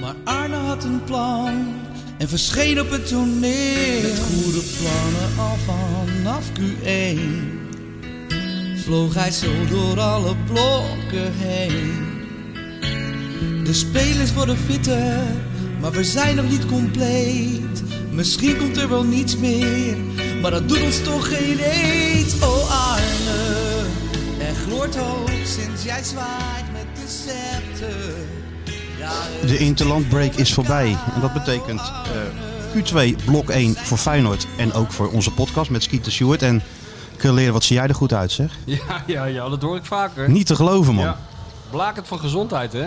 Maar Arne had een plan en verscheen op het toneel. Met goede plannen al vanaf Q1 vloog hij zo door alle blokken heen. De spelers worden fitter, maar we zijn nog niet compleet. Misschien komt er wel niets meer, maar dat doet ons toch geen eet. Oh Arne, er gloort hoop sinds jij zwaait met de scepter. Ja, het De Interlandbreak is voorbij. En dat betekent eh, Q2 blok 1 voor Feyenoord. En ook voor onze podcast met Skeeter Stewart. En kun leren wat zie jij er goed uit zeg. Ja, ja, ja, dat hoor ik vaker. Niet te geloven man. Ja. Blakend van gezondheid, hè?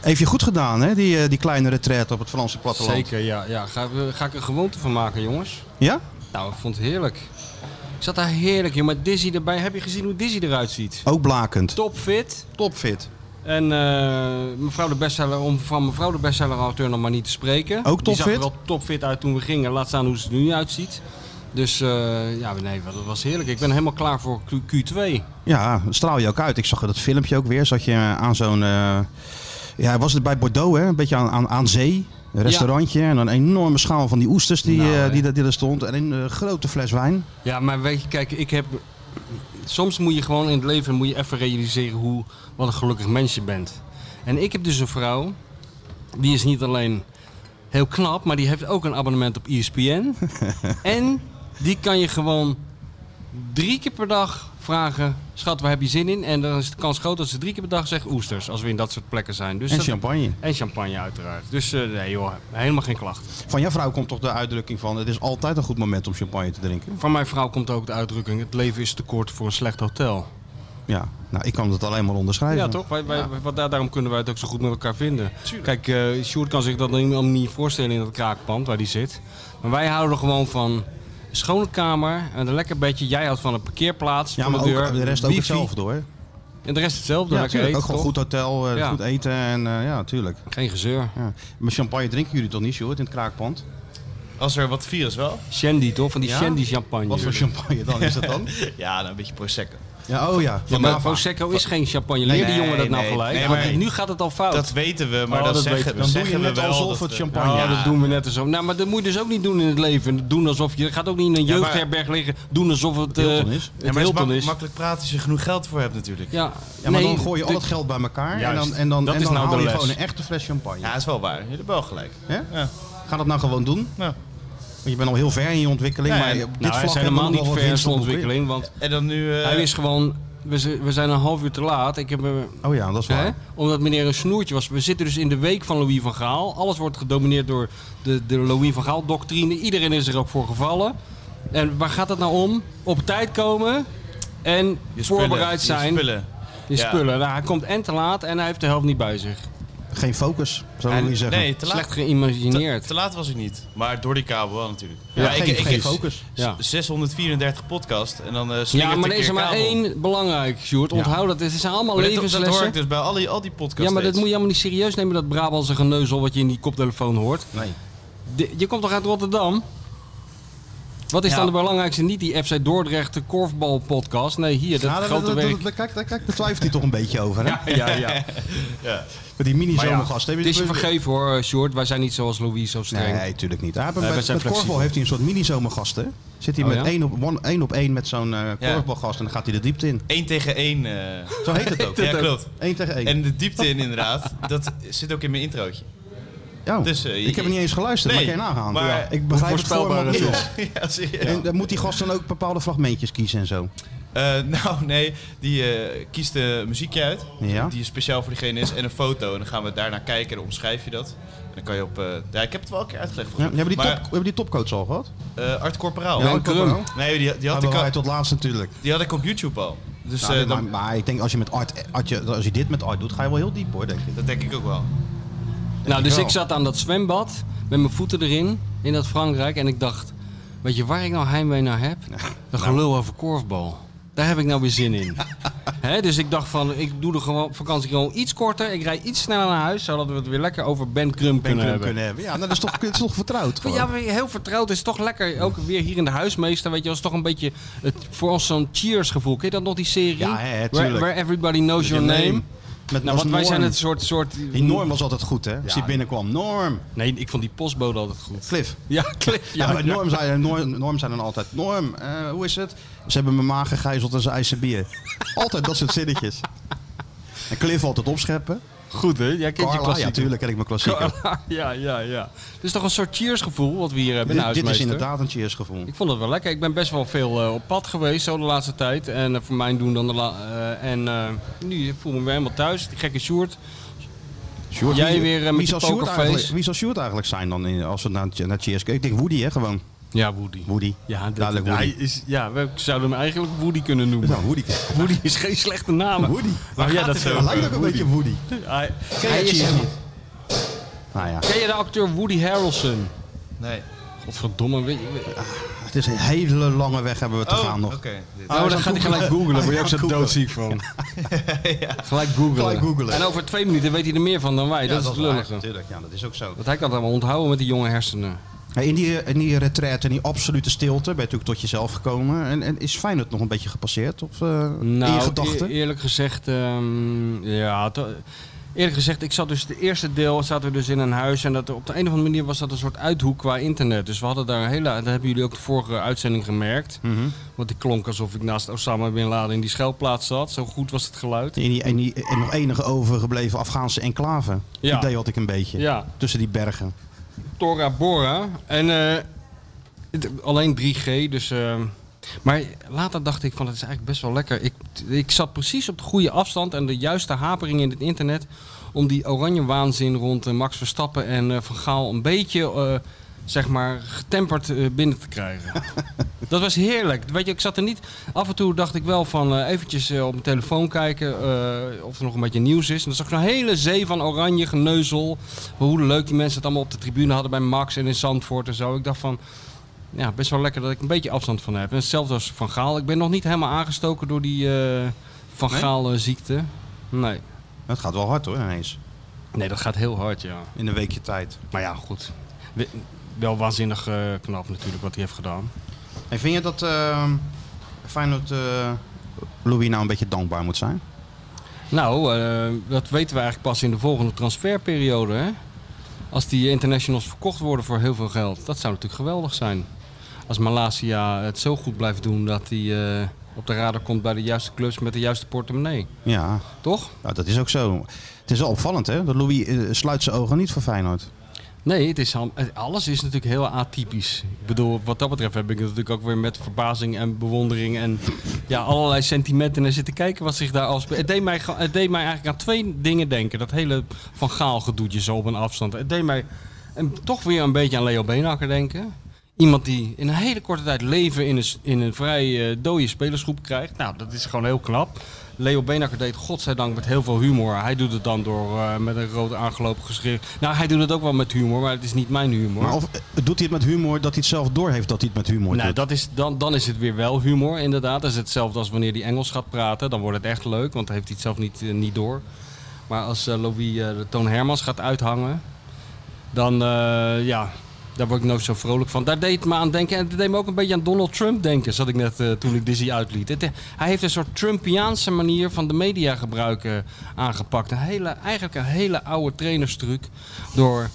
Heeft je goed gedaan hè, die, eh, die kleine retraite op het Franse platteland. Zeker, ja. ja. Ga, ga ik er gewoonte van maken, jongens. Ja? Nou, ik vond het heerlijk. Ik zat daar heerlijk in, maar Dizzy erbij. Heb je gezien hoe Dizzy eruit ziet? Ook blakend. Topfit. Topfit. En eh, mevrouw de bestseller, om van mevrouw de bestseller-auteur nog maar niet te spreken. Ook Die zag er topfit? wel topfit uit toen we gingen. Laat staan hoe ze er nu uitziet. Dus eh, ja, nee, dat was heerlijk. Ik ben helemaal klaar voor Q- Q2. Ja, straal je ook uit. Ik zag dat filmpje ook weer. Zat je aan zo'n... eh, ja, was het bij Bordeaux hè? Een beetje aan, aan, aan zee. Een restaurantje. En dan een enorme schaal van die oesters die, Nou, eh, hè. die, daar- die er stond. En een eh, grote fles wijn. Ja, maar weet je, kijk, ik heb. Soms moet je gewoon in het leven moet je even realiseren hoe, wat een gelukkig mens je bent. En ik heb dus een vrouw, die is niet alleen heel knap, maar die heeft ook een abonnement op E ESPN. en die kan je gewoon drie keer per dag vragen, schat, waar heb je zin in? En dan is de kans groot dat ze drie keer per dag zegt oesters, als we in dat soort plekken zijn. Dus En dat- champagne. en champagne uiteraard. Dus eh, nee joh, helemaal geen klachten. Van jouw vrouw komt toch de uitdrukking van: het is altijd een goed moment om champagne te drinken. Van mijn vrouw komt ook de uitdrukking, het leven is te kort voor een slecht hotel. Ja, nou, ik kan dat alleen maar onderschrijven. Ja, toch? Wij, wij, wat daar, daarom kunnen wij het ook zo goed met elkaar vinden. Kijk, eh Sjoerd kan zich dat helemaal niet voorstellen in dat kraakpand waar hij zit. Maar wij houden er gewoon van een schone kamer en een lekker bedje. Jij houdt van een parkeerplaats Ja, voor maar de deur. ook, de rest ook wifi. hetzelfde hoor. En de rest hetzelfde. Ja, lekker natuurlijk. Ook gewoon eten, toch? goed hotel, eh, Ja. goed eten en eh, ja, natuurlijk. Geen gezeur. Ja. Maar champagne drinken jullie toch niet, Sjoerd, in het kraakpand? Als er wat virus wel? Shandy, toch? Van die Ja? Shandy champagne. Wat voor champagne dan is dat dan? Ja, dan een beetje prosecco. Ja, oh ja. Ja, Van maar Nava. Prosecco is geen champagne. Leer die nee, jongen dat nou nee, gelijk. nee, Want maar- nu gaat het al fout. Dat weten we, maar Oh, dat, dat zeggen, weten we. dan Dan doe zeggen je net we wel. alsof dat het we- champagne Nou, ja. dat doen we net alsof. Nou, maar dat moet je dus ook niet doen in het leven. Doen alsof je. Gaat ook niet in een Ja, maar- jeugdherberg liggen. Doen alsof het. eh, Hilton is. het Ja, maar het is Hilton mak- is. makkelijk praten als je genoeg geld voor hebt natuurlijk. Ja, Ja, Ja, maar nee, dan gooi je al de- het geld bij elkaar en Juist. dan, en dan, Dat en is dan nou de haal je les. gewoon een echte fles champagne. dat is wel waar. Jullie hebben wel gelijk. Hè? Ja. Ga dat nou gewoon doen. Nou. Want je bent al heel ver in je ontwikkeling, Ja, ja. maar Nou, op dit Nou, hij vlak is hebben we helemaal nog niet wel wat ver in winst zijn om te prikken. ontwikkeling. Want En dan nu... eh, hij is gewoon. We, z- we zijn een half uur te laat. Ik heb. eh, Oh ja, dat is waar. Hè? Omdat meneer een snoertje was. We zitten dus in de week van Louis van Gaal. Alles wordt gedomineerd door de, de Louis van Gaal doctrine. Iedereen is er ook voor gevallen. En waar gaat het nou om? Op tijd komen en je spullen, voorbereid zijn. Je spullen. Je Ja. spullen. Nou, hij komt en te laat en hij heeft de helft niet bij zich. Geen focus, zou En- ik niet zeggen. Nee, te Slecht laat, te, geïmagineerd. te laat was ik niet. Maar door die kabel wel natuurlijk. Ja, Maar geen, ik, ik, geen ik- focus. ja. 634 podcast en dan eh slingert ja, maar een er is keer er maar kabel. één belangrijk, Sjoerd. Onthoud dat. Het zijn allemaal Maar dat- dat, levenslessen. hoor ik dus bij al die, al die podcasts ja, maar dat steeds. moet je allemaal niet serieus nemen, dat Brabantse geneuzel wat je in die koptelefoon hoort. Nee. De- je komt toch uit Rotterdam? Wat is Ja. dan de belangrijkste? Niet die FC Dordrecht de korfbal podcast. Nee, hier, dat Ja, Nou, dat- grote dat- dat- werk. dat- Kijk, daar- kijk, daar twijfelt hij toch een beetje over, hè? Ja, ja, ja. Met die mini-zomergast. Het is je vergeven hoor, eh, Sjoerd. Wij zijn niet zoals Louis zo streng. Nee, natuurlijk niet. Hij heeft- wij met zijn met korfbal flexibel. heeft hij een soort mini-zomergast, hè? Zit hij Oh, met ja? één, op, one- één op één met zo'n eh, Ja. korfbalgast en dan gaat hij de diepte in. Eén tegen één. eh. Zo heet het ook. ja, klopt. Eén tegen één. En de diepte in inderdaad, dat zit ook in mijn introotje. Ja. dus, eh, ik heb het niet eens geluisterd, Nee, maar kan je nagaan. maar- Ja, ik begrijp het voor Onvoorspelbaar me is niet. ja, serieus. En dan moet die gast dan ook bepaalde fragmentjes kiezen en zo. Eh, nou, nee, die eh, kiest een muziekje uit. Ja. Die speciaal voor diegene is en een foto. En dan gaan we daarnaar kijken en dan omschrijf je dat. En dan kan je op. eh, ja, ik heb het wel een keer uitgelegd. Ja, volgens hebben, die mij. top, hebben die topcoach al gehad? Maar, eh, Art Corporaal. Ja, Art Krum. Corporaal? Nee, die, die, Ja, had ik hij al, tot laatst natuurlijk. die had ik op YouTube al. Dus Nou, eh, maar, dan, maar ik denk als je, met Art, als, je, als je dit met Art doet, ga je wel heel diep hoor, denk ik. dat denk ik ook wel. Nou, ik dus wel. ik zat aan dat zwembad met mijn voeten erin, in dat Frankrijk. En ik dacht, weet je waar ik nou heimwee naar heb? Dat gelul over korfbal. Daar heb ik nou weer zin in. Hè, dus ik dacht van, ik doe de gewoon- vakantie gewoon iets korter. Ik rijd iets sneller naar huis, zodat we het weer lekker over Ben Krum kunnen Kunnen, hebben. kunnen hebben. Ja, nou, dat is toch, dat is toch vertrouwd? Ja, gewoon. maar heel vertrouwd is toch lekker. Ook weer hier in de huismeester, weet je, was toch een beetje het, voor ons zo'n Cheers gevoel. Ken je dat nog die serie? Ja, hè, hè, where, tuurlijk. where everybody knows your name. Met Nou, was want wij zijn Norm. het soort... soort Die Norm was altijd goed, hè? Als die Ja. binnenkwam. Norm! Nee, ik vond die postbode altijd goed. Cliff. Ja, Cliff. Ja, Ja, bij Norm zijn, Norm, Norm zijn dan altijd... Norm, eh, hoe is het? Ze hebben mijn maag gegijzeld en ze eisen bier. Altijd dat soort zinnetjes. En Cliff altijd opscheppen. Goed, hè? Jij kent je Carla, ja, klassieker. tuurlijk ken ik mijn klassieker. Carla, ja, ja, ja. Het is toch een soort cheersgevoel wat we hier hebben in Dit, dit is Huismeester? inderdaad een cheersgevoel. Ik vond het wel lekker. Ik ben best wel veel eh, op pad geweest zo de laatste tijd. En eh, voor mijn doen dan de la- eh, En eh, nu voel ik me weer helemaal thuis. Die gekke Sjoerd. Sjoerd, Jij weer, eh, met je zal Sjoerd pokerface? eigenlijk- Wie zal Sjoerd eigenlijk zijn dan in, als we naar, naar Cheers kijken? Ik denk Woody, hè, gewoon. Ja, Woody. Woody. Ja, dat, Duidelijk Woody. hij is, ja, we zouden hem eigenlijk Woody kunnen noemen. Nou, Woody. Woody is geen slechte naam. Woody. Maar ja, dat is Hij lijkt ook een beetje Woody. Hij, Ken hij je is, Cheers niet? Nou ja, ken je de acteur Woody Harrelson? Nee. Godverdomme. Weet je, het is een hele lange weg hebben we te gaan nog. oké. Dit- Oh, dan gaat hij gelijk googelen. Word je ook zo doodziek van. Gelijk googelen. Gelijk googelen. En over twee minuten weet hij er meer van dan wij. Ja, dat, is het waar, lullige. Natuurlijk, ja, dat is ook zo. Want hij kan het allemaal onthouden met die jonge hersenen. Hey, In die, in die retraite, in die absolute stilte, ben je natuurlijk tot jezelf gekomen. En, en is Feyenoord nog een beetje gepasseerd? Of eh, in je gedachten? e- eerlijk gezegd, ehm, ja, to- eerlijk gezegd, ik zat dus het eerste deel zaten we dus in een huis en dat op de een of andere manier was dat een soort uithoek qua internet. Dus we hadden daar een hele, dat hebben jullie ook de vorige uitzending gemerkt, Mhm. want ik klonk alsof ik naast Osama bin Laden in die schuilplaats zat. Zo goed was het geluid. In die, in die en nog enige overgebleven Afghaanse enclave. Ja. Idee had ik een beetje. Ja, Tussen die bergen. Tora Bora. En eh, het- alleen 3G, dus... eh, maar later dacht ik van het is eigenlijk best wel lekker. Ik, ik zat precies op de goede afstand en de juiste hapering in het internet om die oranje waanzin rond eh, Max Verstappen en eh, Van Gaal een beetje eh, zeg maar getemperd eh, binnen te krijgen. Dat was heerlijk. Weet je, ik zat er niet. Af en toe dacht ik wel van eh, eventjes eh, op mijn telefoon kijken eh, of er nog een beetje nieuws is. En dan zag ik zo'n hele zee van oranje geneuzel. Hoe leuk die mensen het allemaal op de tribune hadden bij Max en in Zandvoort en zo. Ik dacht van, ja, best wel lekker dat ik een beetje afstand van heb. En hetzelfde als Van Gaal. Ik ben nog niet helemaal aangestoken door die eh, Van Nee? Gaal eh, ziekte. Nee. Het gaat wel hard hoor, ineens. Nee, dat gaat heel hard, ja. In een weekje tijd. Maar ja, goed. We- Wel waanzinnig eh, knap natuurlijk wat hij heeft gedaan. En vind je dat eh, Feyenoord eh, Louis nou een beetje dankbaar moet zijn? Nou, eh, dat weten we eigenlijk pas in de volgende transferperiode. Hè? Als die internationals verkocht worden voor heel veel geld. Dat zou natuurlijk geweldig zijn. Als Malasia het zo goed blijft doen dat hij eh, op de radar komt bij de juiste clubs met de juiste portemonnee. Ja, Toch? nou, dat is ook zo. Het is wel opvallend hè, dat Louis eh, sluit zijn ogen niet voor Feyenoord. Nee, het is, al- alles is natuurlijk heel atypisch. Ik bedoel, wat dat betreft heb ik het natuurlijk ook weer met verbazing en bewondering en ja, allerlei sentimenten naar zitten kijken wat zich daar afspeelt. Het deed, mij, ge- het deed mij eigenlijk aan twee dingen denken. Dat hele Van Gaal gedoetje zo op een afstand. Het deed mij en toch weer een beetje aan Leo Beenhakker denken. Iemand die in een hele korte tijd leven in een, s- in een vrij eh, dode spelersgroep krijgt. Nou, dat is gewoon heel knap. Leo Beenhakker deed het godzijdank met heel veel humor. Hij doet het dan door eh, met een rood aangelopen geschrift. Nou, hij doet het ook wel met humor, maar het is niet mijn humor. Maar of eh, doet hij het met humor dat hij het zelf doorheeft dat hij het met humor Nou, doet? dat is, dan, dan is het weer wel humor, inderdaad. Dat is hetzelfde als wanneer hij Engels gaat praten. Dan wordt het echt leuk, want dan heeft hij het zelf niet, eh, niet door. Maar als eh, Louis eh, de Toon Hermans gaat uithangen, dan eh, ja, daar word ik nooit zo vrolijk van. Daar deed het me aan denken. En dat deed me ook een beetje aan Donald Trump denken, zat ik net eh, toen ik Dizzy uitliet. Het, eh, hij heeft een soort Trumpiaanse manier van de media gebruiken aangepakt. Een hele, eigenlijk een hele oude trainerstruc. Door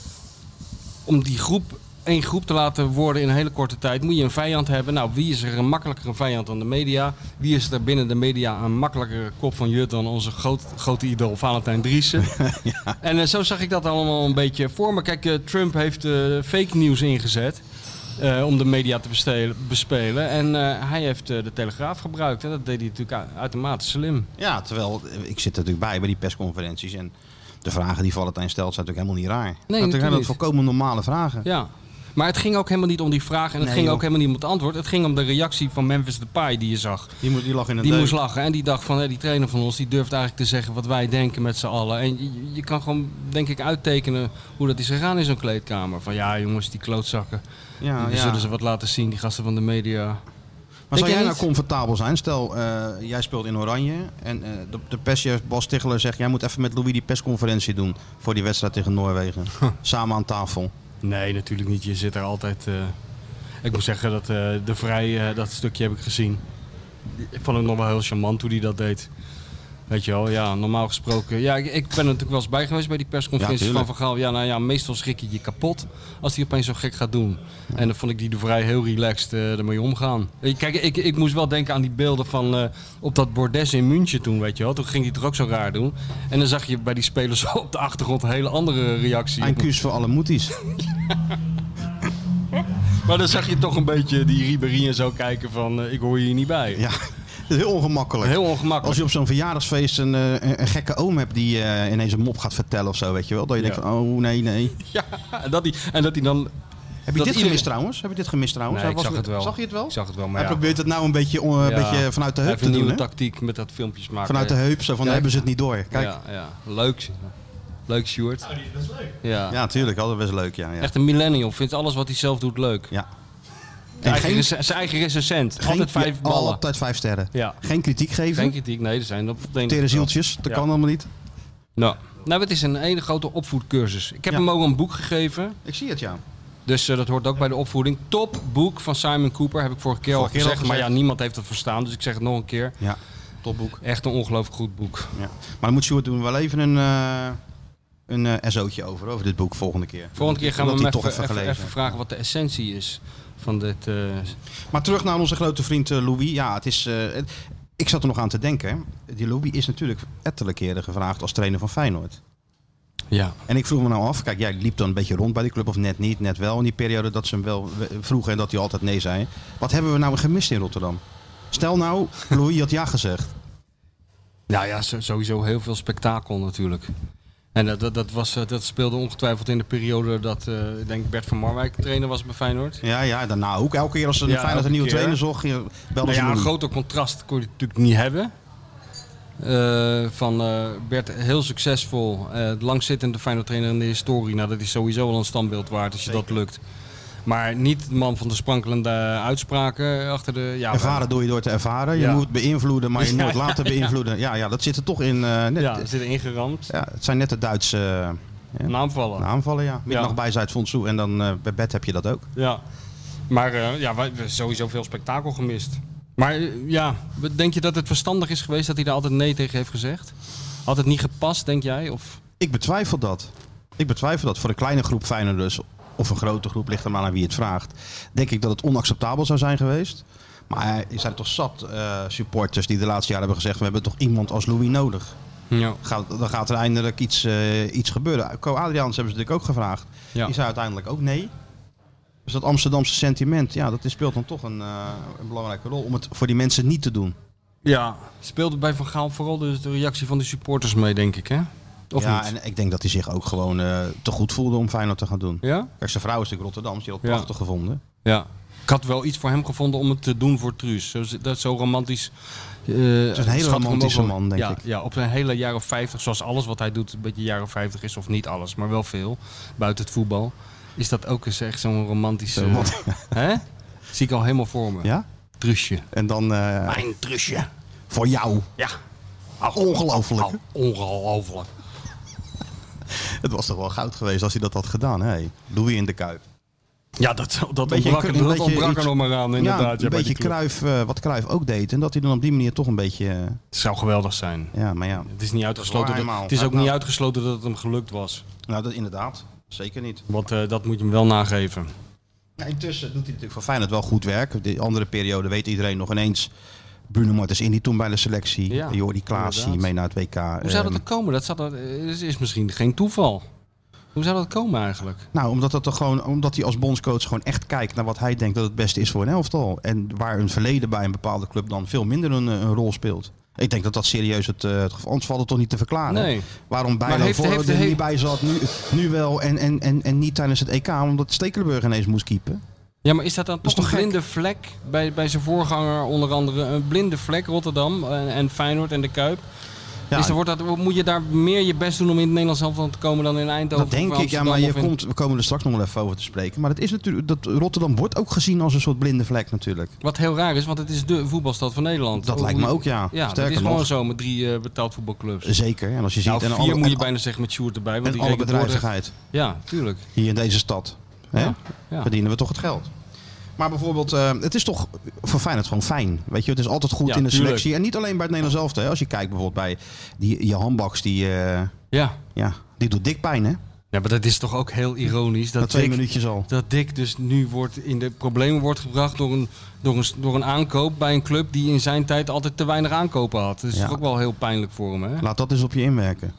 om die groep één groep te laten worden in een hele korte tijd, moet je een vijand hebben. Nou, wie is er een makkelijkere vijand dan de media? Wie is er binnen de media een makkelijkere kop van jut dan onze groot, grote idool Valentijn Driessen? En eh, zo zag ik dat allemaal een beetje voor me. Kijk, eh, Trump heeft eh, fake nieuws ingezet. eh, om de media te bestelen- bespelen. En eh, hij heeft eh, de Telegraaf gebruikt. En dat deed hij natuurlijk u- uitermate slim. Ja, terwijl eh, ik zit er natuurlijk bij bij die persconferenties en de vragen die Valentijn stelt zijn natuurlijk helemaal niet raar. dat zijn natuurlijk dat niet. volkomen normale vragen. Ja. Maar het ging ook helemaal niet om die vraag. En het Nee, ging joh. ook helemaal niet om het antwoord. Het ging om de reactie van Memphis Depay die je zag. Die, moet, die lag in een Die deuk. moest lachen en die dacht van hé, die trainer van ons die durft eigenlijk te zeggen wat wij denken met z'n allen. En je, je kan gewoon denk ik uittekenen hoe dat is gegaan in zo'n kleedkamer. Van ja jongens, die klootzakken, Ja, die ja. zullen ze wat laten zien, die gasten van de media. Maar zou jij jij nou niet? comfortabel zijn? Stel, eh, jij speelt in Oranje en eh, de, de persje Bas Ticheler zegt... jij moet even met Louis die persconferentie doen voor die wedstrijd tegen Noorwegen. Samen aan tafel. Nee, natuurlijk niet. Je zit er altijd... eh, Ik moet zeggen dat eh, de vrij, eh, dat stukje heb ik gezien. Ik vond het nog wel heel charmant hoe die dat deed. Weet je wel, ja, normaal gesproken. Ja, ik, ik ben er natuurlijk wel eens bij geweest bij die persconferenties Ja, van tuurlijk. Van Gaal. Ja, nou ja, meestal schrik je je kapot als hij opeens zo gek gaat doen. En dan vond ik die de Vrij heel relaxed eh, ermee omgaan. Ik- Kijk, ik, ik moest wel denken aan die beelden van eh, op dat bordes in München toen, weet je wel. Toen ging hij het er ook zo raar doen. En dan zag je bij die spelers op de achtergrond een hele andere reactie. Een kus voor alle moeties. Maar dan zag je toch een beetje die Ribéry en zo kijken van, eh, ik hoor je hier niet bij. Ja, heel ongemakkelijk. Heel ongemakkelijk. Als je op zo'n verjaardagsfeest een, eh, een, een gekke oom hebt die eh, ineens een mop gaat vertellen of zo, weet je wel. Dat je Ja. denkt van, oh nee, nee. Ja, en dat hij, en dat hij dan... Heb je dit Dat iedereen- gemist trouwens? Heb je dit gemist trouwens? Nee, Hij ik zag was- het wel. Zag je het wel? Ik zag het wel, maar Hij ja. probeert het nou een beetje, on- een Ja. beetje vanuit de Hij heup heeft te een doen, nieuwe hè? tactiek met dat filmpjes maken. Vanuit de heup, zo van, Kijk. hebben ze het niet door. Kijk, ja, Ja, ja. Leuk. Leuk, Stuart. Oh, die is best leuk. Ja. natuurlijk, altijd best leuk, ja. ja. Echt een millennial. Vindt alles wat hij zelf doet leuk. ja. Zijn eigen, rec- zijn eigen recensent. altijd vijf ja, ballen. Altijd vijf sterren. Ja. Geen kritiek Geen geven. kritiek. Nee, er zijn dat Tere zieltjes, dat Ja. kan allemaal niet. Nou. nou, het is een hele grote opvoedcursus. Ik heb Ja. hem ook een boek gegeven. Ik zie het, ja. Dus eh, dat hoort ook bij de opvoeding. Top boek van Simon Cooper. Heb ik vorige keer al Vorige keer al gezegd. Maar ja, gezegd. niemand heeft het verstaan. Dus ik zeg het nog een keer. Ja, topboek. Echt een ongelooflijk goed boek. Ja. Maar dan moet Sjoerd doen we wel even een, eh een eh, SO'tje over, over dit boek volgende keer. Volgende keer gaan we Omdat hem die even, toch even even- gelezen even vragen wat de essentie is van dit. eh, Maar terug naar onze grote vriend eh, Louis. Ja, het is, eh, het- ik zat er nog aan te denken. Die Louis is natuurlijk ettelijke keren gevraagd als trainer van Feyenoord. ja. En ik vroeg me nou af, kijk, jij liep dan een beetje rond bij die club of net niet, net wel. In die periode dat ze hem wel eh, vroegen en dat hij altijd nee zei. Wat hebben we nou gemist in Rotterdam? Stel nou, Louis had ja gezegd. Nou ja, zo- sowieso heel veel spektakel natuurlijk. En dat, dat, dat, was, eh, dat speelde ongetwijfeld in de periode dat eh, ik denk Bert van Marwijk trainer was bij Feyenoord. Ja, ja, daarna ook. Elke keer als ze Ja, Feyenoord een elke nieuwe keer. trainer zocht, je- belde Nou ze ja, een Louis. groter contrast kon je natuurlijk niet hebben. Eh, van eh, Bert heel succesvol, eh, de langzittende Feyenoord trainer in de historie. Nou, dat is sowieso al een standbeeld waard als je dat lukt. Maar niet de man van de sprankelende uitspraken achter de... Ja, Ervaren doe je door te ervaren. Je Ja. moet beïnvloeden, maar je Ja, moet laten beïnvloeden. Ja, ja, dat zit er toch in. eh, net- Ja, ja. Nou. er zit ingeramd. het zijn net de Duitse eh, Naamvallen. aanvallen, ja. Middag bij Zuid-Fondsoe en dan eh, bij bed heb je dat ook. Ja, maar eh, ja, wij- we hebben sowieso veel spektakel gemist. Maar eh, ja, denk je dat het verstandig is geweest dat hij daar altijd nee tegen heeft gezegd? Had het niet gepast, denk jij? Of... Ik betwijfel dat. Ik betwijfel dat. Voor een kleine groep Feyenoorders of een grote groep, ligt er maar aan wie het vraagt. Denk ik dat het onacceptabel zou zijn geweest. Maar er zijn toch zat eh, supporters die de laatste jaren hebben gezegd... we hebben toch iemand als Louis nodig. Ja. Gaat, dan gaat er eindelijk iets, eh, iets gebeuren. Co Adriaans hebben ze natuurlijk ook gevraagd. Ja. Die zei uiteindelijk ook nee. Dus dat Amsterdamse sentiment, ja, dat is- speelt dan toch een, eh, een belangrijke rol. Om het voor die mensen niet te doen. ja. Speelde bij Van Gaal vooral dus de reactie van de supporters mee, denk ik, hè? Of ja, niet? en ik denk dat hij zich ook gewoon eh, te goed voelde om Feyenoord te gaan doen. Ja? Kijk, zijn vrouw is natuurlijk Rotterdams, die had het Ja. prachtig gevonden. Ja. Ik had wel iets voor hem gevonden om het te doen voor Truus. Zo, dat, zo romantisch. eh, is een hele schat ik hem romantische ook wel- man, denk ja, ik. Ja, op zijn hele jaren 50, zoals alles wat hij doet, een beetje jaren 50 is, of niet alles, maar wel veel, buiten het voetbal, is dat ook eens echt zo'n romantische. Zo, man. hè? Zie ik al helemaal voor me. Ja? Truusje. En dan eh, Mijn Truusje. voor jou. Ja. Ongelooflijk. Au, Ongelooflijk. Het was toch wel goud geweest als hij dat had gedaan. Hey, Louis in de Kuip. Ja, dat, dat Beetje ontbrak, een- er- een dat beetje ontbrak er iets- nog maar aan, inderdaad. ja, ja, een bij die beetje club. Cruijff, eh, wat Cruijff ook deed. En dat hij dan op die manier toch een beetje... eh, Het zou geweldig zijn. ja, maar ja. Het is, niet uitgesloten dat, Waar, Nou. het is ook maar- niet uitgesloten dat het hem gelukt was. Nou, dat inderdaad. Zeker niet. Want eh, dat moet je hem wel nageven. Ja, intussen doet hij natuurlijk voor Feyenoord wel goed werk. De andere periode weet iedereen nog ineens. Bruno Martens in die toen bij de selectie. Ja, Jordi Klaas die inderdaad. mee naar het WK. Hoe zou dat Ehm, er komen? Dat zou dat, eh, is- is misschien geen toeval. Hoe zou dat komen eigenlijk? Nou, omdat, dat er gewoon, omdat hij als bondscoach gewoon echt kijkt naar wat hij denkt dat het beste is voor een elftal. En waar een verleden bij een bepaalde club dan veel minder een, eh, een rol speelt. Ik denk dat dat serieus het, eh, het geval Anders valt het toch niet te verklaren. Nee. Waarom Bijlo heeft- voor heeft- er heeft- niet bij zat, nu, nu wel en, en, en, en niet tijdens het EK. Omdat Stekelenburg ineens moest keepen. Ja, maar is dat dan is toch een toch gek? blinde vlek bij, bij zijn voorganger onder andere? Een blinde vlek Rotterdam en, en Feyenoord en de Kuip. Ja, Is er, wordt dat, moet je daar meer je best doen om in het Nederlands elftal te komen dan in Eindhoven? dat denk of ik. Ja, Amsterdam maar je of in- komt, we komen er straks nog wel even over te spreken. Maar het is natuurlijk, dat Rotterdam wordt ook gezien als een soort blinde vlek natuurlijk. Wat heel raar is, want het is de voetbalstad van Nederland. Dat Hoe- lijkt me ook, ja. Ja, dat Sterker is nog. gewoon zo met drie eh, betaald voetbalclubs. Zeker. En als je ziet Nou, en vier alle, moet je en- bijna zeggen met Sjoerd erbij. Want en die alle rekent door de- bedrijvigheid Ja, tuurlijk. hier in deze stad. Hè? Ja. verdienen we toch het geld. Maar bijvoorbeeld, eh, het is toch voor Feyenoord gewoon fijn. Weet je, het is altijd goed Ja, in de tuurlijk. selectie. En niet alleen bij het Nederlands elftal. hè. Als je kijkt bijvoorbeeld bij die je handbaks, die, eh, Ja. ja, die doet dik pijn, hè? ja, maar dat is toch ook heel ironisch. Na Dat twee ik- minuutjes al. Dat Dick dus nu wordt in de problemen wordt gebracht door een, door, een, door een aankoop bij een club die in zijn tijd altijd te weinig aankopen had. Dat is Ja. toch ook wel heel pijnlijk voor hem, hè? Laat dat eens op je inwerken.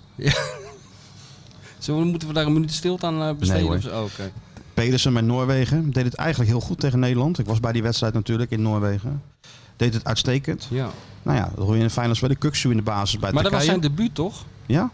Zo, moeten we daar een minuut stilte aan eh, Nee, besteden? hoor. of zo? Oh, oké. Pedersen met Noorwegen deed het eigenlijk heel goed tegen Nederland. Ik was bij die wedstrijd natuurlijk in Noorwegen. Deed het uitstekend. ja. Nou ja, dan hoor je in de finals bij de Kuksu in de basis bij Maar dat was Turkije. zijn debuut, toch? Ja?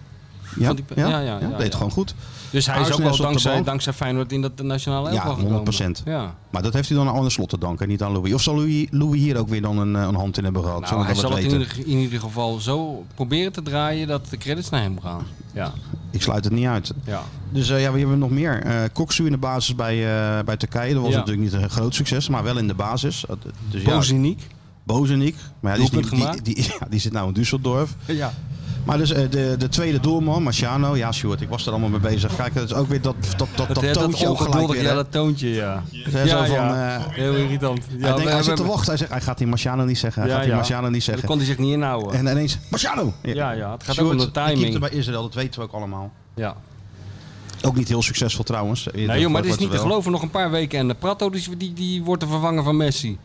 Ja? Van die- ja? ja, ja, ja, deed het ja. gewoon goed. Dus hij is ook Aarsnes op wel de dankzij, bank. dankzij Feyenoord in dat nationale Ja, elftal 100%. gekomen. Ja, Maar dat heeft hij dan aan Arne Slot te danken, niet aan Louis. Of zal Louis, Louis hier ook weer dan een, eh, een hand in hebben gehad? Nou, Zullen we hij dat zal het weten? in ieder, in ieder geval zo proberen te draaien dat de credits naar hem gaan. Ja, Ik sluit het niet uit. ja. Dus eh, ja, we hebben nog meer. Eh Koksu in de basis bij, eh, bij Turkije. Dat was Ja. natuurlijk niet een groot succes, maar wel in de basis. Eh, Dus ja, Boziniek. Bozeniek. Maar ja, die, is Doelpunt niet- die, gemaakt. die, ja, die zit nou in Düsseldorf. Ja. Maar dus eh, de, de tweede doelman, Marciano. Ja, Stuart, ik was er allemaal mee bezig. Kijk, dat is ook weer dat, dat, dat, dat, Dat, dat, toontje ook gelijk ongeduldig, weer. ja, hè. dat toontje, ja. Zo van, eh, Heel irritant. Ja, hij, denkt, hij we- zit we- te wachten. Hij zegt, hij gaat die Marciano niet zeggen. Hij Ja, gaat die ja. Marciano niet Dat zeggen. kon hij zich niet inhouden. En ineens, Marciano! ja, ja, het gaat Stuart, ook om de Die keepte timing. bij Israël, dat weten we ook allemaal. Ja. Ook niet heel succesvol trouwens. Nou joh, maar het is Wordt niet te wel. geloven. Nog een paar weken en de Prato die, die, die wordt de vervanger van Messi.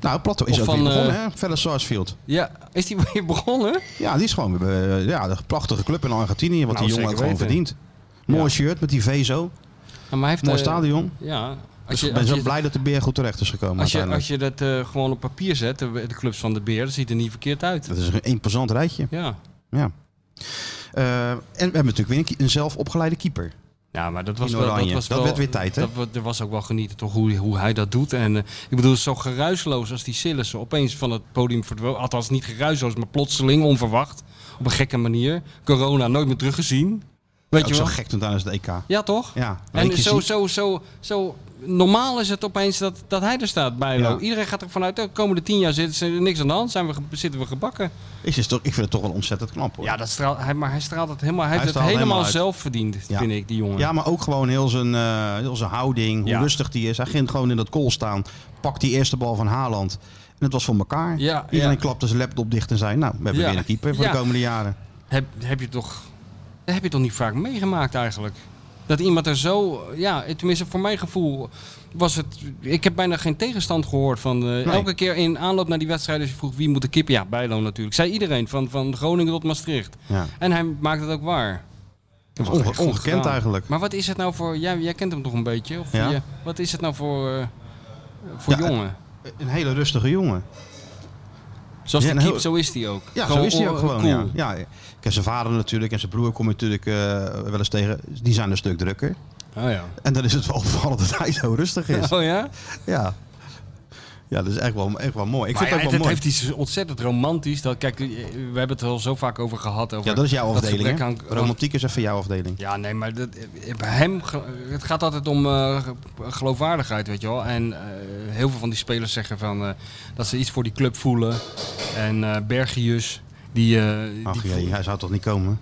Nou, Plato is Of ook van, weer begonnen, eh, hè? Verder Sarsfield. Ja, is die weer begonnen? Ja, die is gewoon eh, ja, de prachtige club in Argentinië. Wat Nou, die jongen zeker ook gewoon weten. verdient. Mooi Ja. shirt met die Vezo. Ja, maar hij heeft, Mooi eh, stadion. Ja. Dus Als ik je, ben als zo je- blij dat de beer goed terecht is gekomen als je, uiteindelijk. als je dat eh, gewoon op papier zet, de, de clubs van de beer, dat ziet er niet verkeerd uit. Dat is een imposant rijtje. Ja. Ja. Eh, en we hebben natuurlijk weer een, ki- een zelf opgeleide keeper. Ja, maar dat was In wel... Dat, oranje. was Dat wel, werd weer tijd, hè? Dat, wa- er was ook wel genieten toch hoe, hoe hij dat doet. En eh, ik bedoel, zo geruisloos als die Sillissen opeens van het podium verdween. Althans, niet geruisloos, maar plotseling, onverwacht. Op een gekke manier. Corona, nooit meer teruggezien. Weet Ook je zo wel? gek toen tijdens de EK. Ja, toch? Ja, één En keer zo, zien. zo, zo, zo normaal is het opeens dat, dat hij er staat, Bijlo. Ja. Iedereen gaat er vanuit, de komende tien jaar zit er niks aan de hand, zijn we, ge- zitten we gebakken. Is, is toch, ik vind het toch wel ontzettend knap hoor. Ja, dat straalt, hij, maar hij straalt het helemaal, hij, heeft het straalt helemaal, helemaal uit. zelf verdiend, Ja. vind ik, die jongen. Ja, maar ook gewoon heel zijn, eh, heel zijn houding, hoe Ja. rustig die is. Hij ging gewoon in dat kool staan, pakt die eerste bal van Haaland. En het was voor elkaar. Ja, Iedereen ja. klapte zijn laptop dicht en zei, nou, we hebben Ja. weer een keeper voor Ja. de komende jaren. Heb, heb je toch, dat heb je toch niet vaak meegemaakt eigenlijk? Dat iemand er zo, ja, tenminste voor mijn gevoel was het. Ik heb bijna geen tegenstand gehoord van. eh, Elke keer in aanloop naar die wedstrijd, als je vroeg wie moet de kippen. Ja, Bijlo natuurlijk. Zei iedereen, van, van Groningen tot Maastricht. Ja. En hij maakt het ook waar. Dat was was echt onge- goed ongekend gedaan. eigenlijk. Maar wat is het nou voor. Jij, jij kent hem toch een beetje? Of Ja. je- wat is het nou voor. eh, voor Ja, jongen? Een hele rustige jongen. Zoals ja, de een keep, heel- zo is hij ook. Ja, zo is hij ook oh, gewoon. cool. Ja. Ja. Ik heb zijn vader natuurlijk en zijn broer kom je natuurlijk eh, wel eens tegen. Die zijn een stuk drukker. Oh ja. En dan is het wel opvallend dat hij zo rustig is. Oh ja? Ja. Ja, dat is echt wel, echt wel mooi. Ik Maar vind het ja, ook het wel mooi. heeft iets ontzettend romantisch. Dat, kijk, eh, we hebben het er al zo vaak over gehad. Over Ja, dat is jouw afdeling. gebrek hè? aan- Romantiek is even jouw afdeling. Ja, nee, maar dat, eh, bij hem, ge- het gaat altijd om eh, geloofwaardigheid, weet je wel. En eh, heel veel van die spelers zeggen van, eh, dat ze iets voor die club voelen. En eh, Bergius, die... eh Ach die jee, hij zou toch niet komen?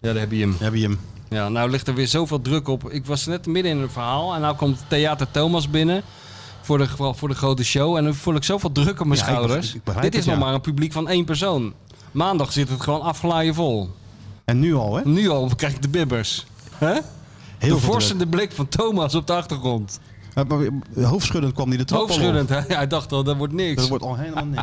Ja, daar heb je hem. Heb je hem? Ja, nou ligt er weer zoveel druk op. Ik was net midden in het verhaal en nou komt Theater Thomas binnen. Voor de, voor de grote show. En dan voel ik zoveel druk op mijn Ja, ik schouders. begrijp- ik begrijp Dit is het, nog ja. maar een publiek van één persoon. Maandag zit het gewoon afgeladen vol. En nu al, hè? Nu al krijg ik de bibbers. hè Heel de veel forsende blik van Thomas op de achtergrond. druk. Eh, maar Hoofdschuddend kwam hij de trap al op. Hoofdschuddend. hè? Hij dacht al, dat wordt niks. Dat wordt al helemaal niks.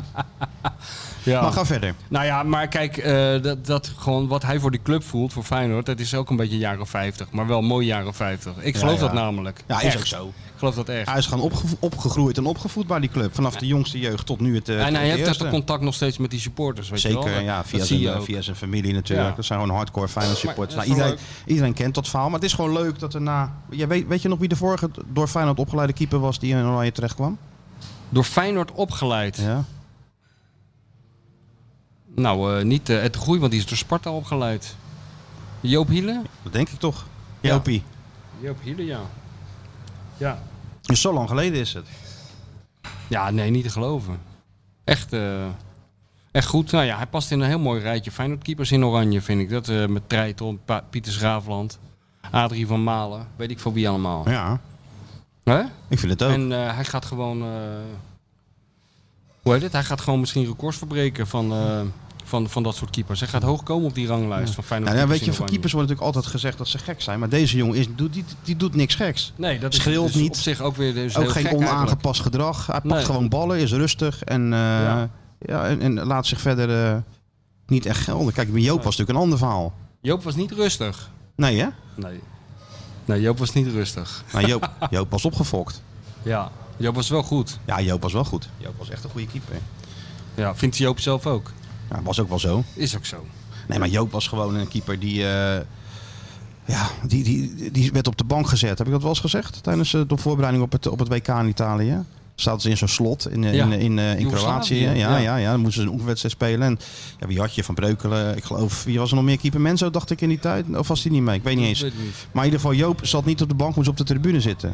ja. Maar ga verder. Nou ja, maar kijk, eh, dat, dat gewoon wat hij voor die club voelt, voor Feyenoord, dat is ook een beetje jaren 50. Maar wel mooi jaren 50. Ik Ja, geloof ja. dat namelijk. Ja, is Echt. ook zo. Ik geloof dat echt. Hij is gewoon opgevo- opgegroeid en opgevoed bij die club. Vanaf de jongste jeugd tot nu het eh, En het hij heeft echt eerste. een contact nog steeds met die supporters, weet je wel. Zeker, Dat- ja, via dat zie je zijn, ook. via zijn familie natuurlijk. Ja. Dat zijn gewoon hardcore Feyenoord supporters. dat Nou, is wel iedereen, iedereen kent dat verhaal, maar het is gewoon leuk dat er na... Ja, weet, weet je nog wie de vorige door Feyenoord opgeleide keeper was die in Oranje terecht kwam? Door Feyenoord opgeleid. Ja. Nou, eh, niet eh Ed de Groei, want die is door Sparta opgeleid. Joop Hiele? Dat denk ik toch. Ja. Jopie. Joop Hiele, ja. Ja. Dus zo lang geleden is het. Ja, nee, niet te geloven. Echt, eh, echt goed. Nou ja, hij past in een heel mooi rijtje Feyenoord-keepers in oranje, vind ik. Dat eh, met Treiton, Pa- Pieter Schraafland, Adrie van Malen, weet ik van wie allemaal. Ja. Hè? Ik vind het ook. En eh, hij gaat gewoon. eh, hoe heet het? Hij gaat gewoon misschien records verbreken van, eh, van, van dat soort keepers. Hij gaat hoog komen op die ranglijst van Feyenoord. Nou, ja, weet je, van keepers wordt natuurlijk altijd gezegd dat ze gek zijn. Maar deze jongen is, doet, die, die doet niks geks. Nee, dat is schreeuwt dus niet. op zich ook weer dus ook heel geen gek onaangepast eigenlijk. gedrag. Hij pakt Nee. gewoon ballen, is rustig en, eh, ja. Ja. en, en laat zich verder eh, niet echt gelden. Kijk, bij Joop was natuurlijk een ander verhaal. Joop was niet rustig. Nee, hè? Nee. Nee, Joop was niet rustig. Maar Joop, Joop was opgefokt. Ja. Joop was wel goed. Ja, Joop was wel goed. Joop was echt een goede keeper. Ja, vindt Joop zelf ook. Ja, was ook wel zo. Is ook zo. Nee, maar Joop was gewoon een keeper die. eh, ja, die, die, die werd op de bank gezet. Heb ik dat wel eens gezegd? Tijdens eh, de voorbereiding op het, op het WK in Italië. Zaten ze in zo'n slot in, eh, Ja. in, eh, in, eh, in Joegoslavië, Kroatië. Ja, ja. ja. Ja, dan moesten ze een oefenwedstrijd spelen. En ja, wie had je? Van Breukelen. Ik geloof, wie was er nog meer keeper? Menzo dacht ik in die tijd. Of was die niet mee? Ik weet niet eens. Ik weet het niet. Maar in ieder geval, Joop zat niet op de bank, moest op de tribune zitten.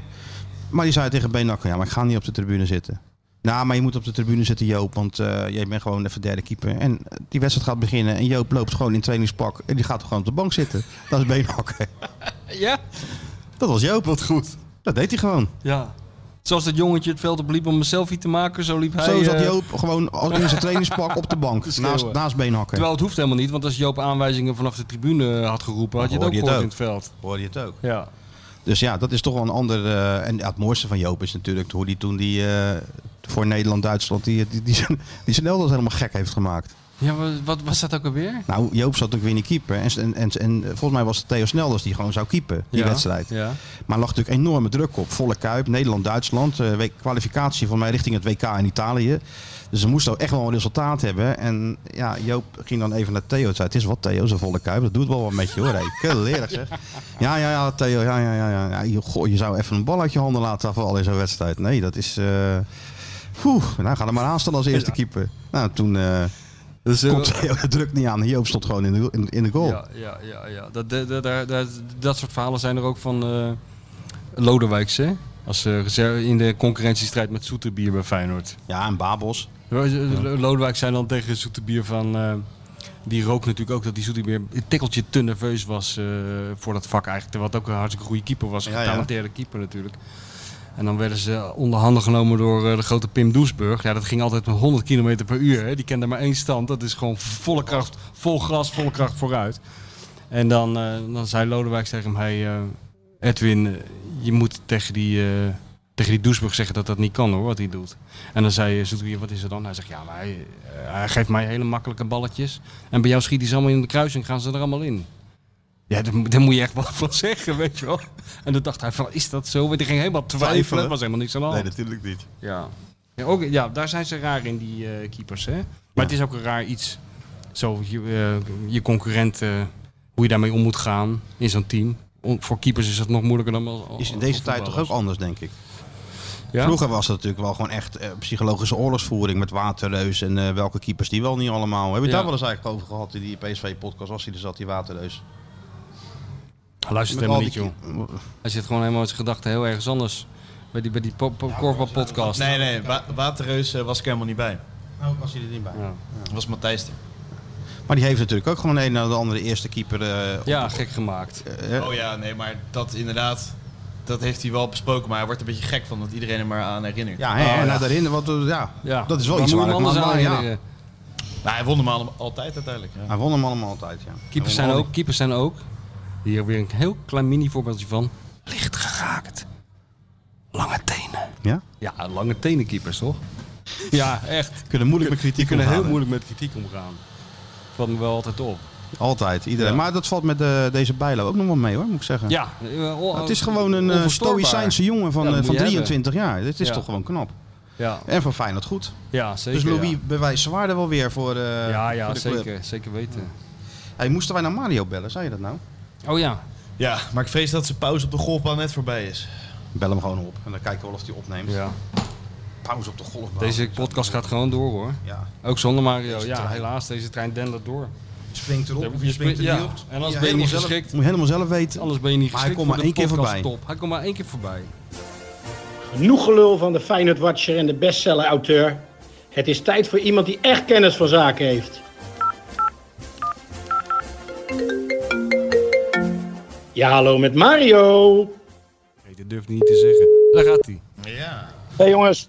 Maar die zei tegen Benakker, ja, maar ik ga niet op de tribune zitten. Nou, maar je moet op de tribune zitten, Joop, want eh, jij bent gewoon even derde keeper. En eh, die wedstrijd gaat beginnen en Joop loopt gewoon in trainingspak en die gaat gewoon op de bank zitten. Dat is Benakker. Ja? Dat was Joop. Wat goed. Dat deed hij gewoon. Ja. Zoals dat jongetje het veld op liep om een selfie te maken, zo liep hij. Zo zat eh, Joop gewoon als- in zijn trainingspak op de bank, schreeuwen. naast, naast Beenhakker. Terwijl het hoeft helemaal niet, want als Joop aanwijzingen vanaf de tribune had geroepen, had je het ook Hoorde je het gehoord in ook. het veld. Hoorde je het ook? Ja. Dus ja, dat is toch wel een ander. eh, en ja, het mooiste van Joop is natuurlijk hoe die toen die eh, voor Nederland-Duitsland die, die, die, zijn- die zijn elders helemaal gek heeft gemaakt. Ja, maar wat was dat ook alweer? Nou, Joop zat ook weer in die keeper. En, en, en, en volgens mij was het Theo Snelders die gewoon zou keepen, die Ja. wedstrijd. Ja. Maar er lag natuurlijk enorme druk op. Volle kuip, Nederland-Duitsland. eh, week- kwalificatie van mij richting het WK in Italië. Dus ze moesten ook echt wel een resultaat hebben. En ja, Joop ging dan even naar Theo. en Zei, het is wat Theo, zo'n volle kuip. Dat doet wel wat met je hoor. Hey, Kullerig zeg. Ja, ja, ja, Theo. Ja, ja, ja. ja. ja je, goh, je zou even een bal uit je handen laten vallen in zo'n wedstrijd. Nee, dat is... eh Poeh, nou ga er maar aan staan als eerste keeper. Nou, toen... eh, Dus, eh, Komt Theo de druk niet aan. Joop stond gewoon in de, in, in de goal. ja, ja, ja, ja. Dat, dat, dat, dat, dat, dat soort verhalen zijn er ook van eh Lodewijkse. Als eh, reserve in de concurrentiestrijd met Zoeterbier bij Feyenoord. Ja, en Babos. eh, Lodewijk zei dan tegen Zoeterbier van... eh, die rook natuurlijk ook dat die Zoeterbier een tikkeltje te nerveus was eh, voor dat vak eigenlijk. Terwijl het ook een hartstikke goede keeper was. Een Ja, ja. getalenteerde keeper natuurlijk. En dan werden ze onder handen genomen door eh, de grote Pim Doesburg. Ja, dat ging altijd met 100 km per uur. Hè. Die kende maar één stand. Dat is gewoon volle kracht, vol gras, volle kracht vooruit. En dan, eh, dan zei Lodewijk tegen hem... Hey, eh, Edwin, eh, je moet tegen die, eh tegen die Doesburg zeggen dat dat niet kan hoor, wat hij doet. En dan zei Zoetwier, wat is er dan? Hij zegt, ja, maar hij, eh, hij geeft mij hele makkelijke balletjes. En bij jou schiet hij ze allemaal in de kruising, gaan ze er allemaal in. Ja, daar, moet- daar moet je echt wat van zeggen, weet je wel. En dan dacht hij van, is dat zo? Want hij ging helemaal twijfelen. Twijfelen. Er was helemaal niks aan de hand. natuurlijk niet. ja. Ja, ook, ja, daar zijn ze raar in, die eh, keepers, hè. Maar het is ook een raar iets. Zo, je, eh, je concurrent, eh, hoe je daarmee om moet gaan in zo'n team. Om- voor keepers is dat nog moeilijker dan... wel- Is in voor deze tijd toch ook voetballers. anders, denk ik. Ja? Vroeger was het natuurlijk wel gewoon echt eh, psychologische oorlogsvoering met Waterreus en eh, welke keepers die wel niet allemaal. Hebben we het Ja. daar wel eens eigenlijk over gehad in die PSV-podcast als hij er zat, die Waterreus? Hij luistert al helemaal niet, die joh. keep- Hij zit gewoon helemaal met zijn gedachten heel ergens anders. Bij die, bij die po- po- korfbalpodcast. Nee, nee, Wa- Waterreus eh, was ik helemaal niet bij. Nou, was hij er niet bij. Ja, Dat was Matthijs er. Maar die heeft natuurlijk ook gewoon een na de andere eerste keeper. eh, op- ja gek gemaakt. eh, Oh ja, nee, maar dat inderdaad, dat heeft hij wel besproken. Maar hij wordt er een beetje gek van dat iedereen hem maar aan herinnert. ja, hè, Oh, en ja. daarin, want eh, ja, Ja. dat is wel Waar iets moet je waar hem ik anders aan maar ja, herinneren? Maar Nou, hij won hem al, altijd uiteindelijk. Ja. Hij won hem allemaal altijd, ja. Keepers zijn ook, keepers zijn ook. Hier weer een heel klein mini voorbeeldje van. Licht geraakt. Lange tenen. Ja? Ja, lange tenen keepers toch? Ja, echt. Kunnen moeilijk met kritiek Die kunnen heel omgaan, hè? moeilijk met kritiek omgaan. Valt me wel altijd op. Altijd, iedereen. Ja. Maar dat valt met eh, deze bijlo ook nog wel mee hoor, moet ik zeggen. Ja. eh, o- Nou, het is gewoon een eh, onverstoorbaar. stoïcijnse jongen van, Ja, dat eh, van moet je hebben. 23 jaar. Dit is Ja. toch gewoon knap. Ja, En voor Feyenoord goed. ja zeker. dus Louis ja. bewijst zijn waarde wel weer voor, eh Ja, ja, voor de club. zeker, zeker weten. Hey, moesten wij naar Mario bellen, zei je dat nou? Oh ja, ja, maar ik vrees dat zijn pauze op de golfbaan net voorbij is. Bel hem gewoon op en dan kijken we wel of hij opneemt. ja. Pauze op de golfbaan. Deze podcast gaat gewoon door hoor. Ja, Ook zonder Mario. Deze Ja, trein. helaas, deze trein dendert door. springt erop of Je je springt er springt- niet ja. op. En Je anders ben je niet helemaal zelf- geschikt. Moet je helemaal zelf weten. Anders ben je niet Maar geschikt hij komt voor maar de één keer podcast voorbij. Top. Hij komt maar één keer voorbij. Genoeg gelul van de Feyenoord Watcher en de bestseller-auteur. Het is tijd voor iemand die echt kennis van zaken heeft. Ja, hallo met Mario. weet, dat durf ik niet te zeggen. Daar gaat hij. Ja. Hey jongens,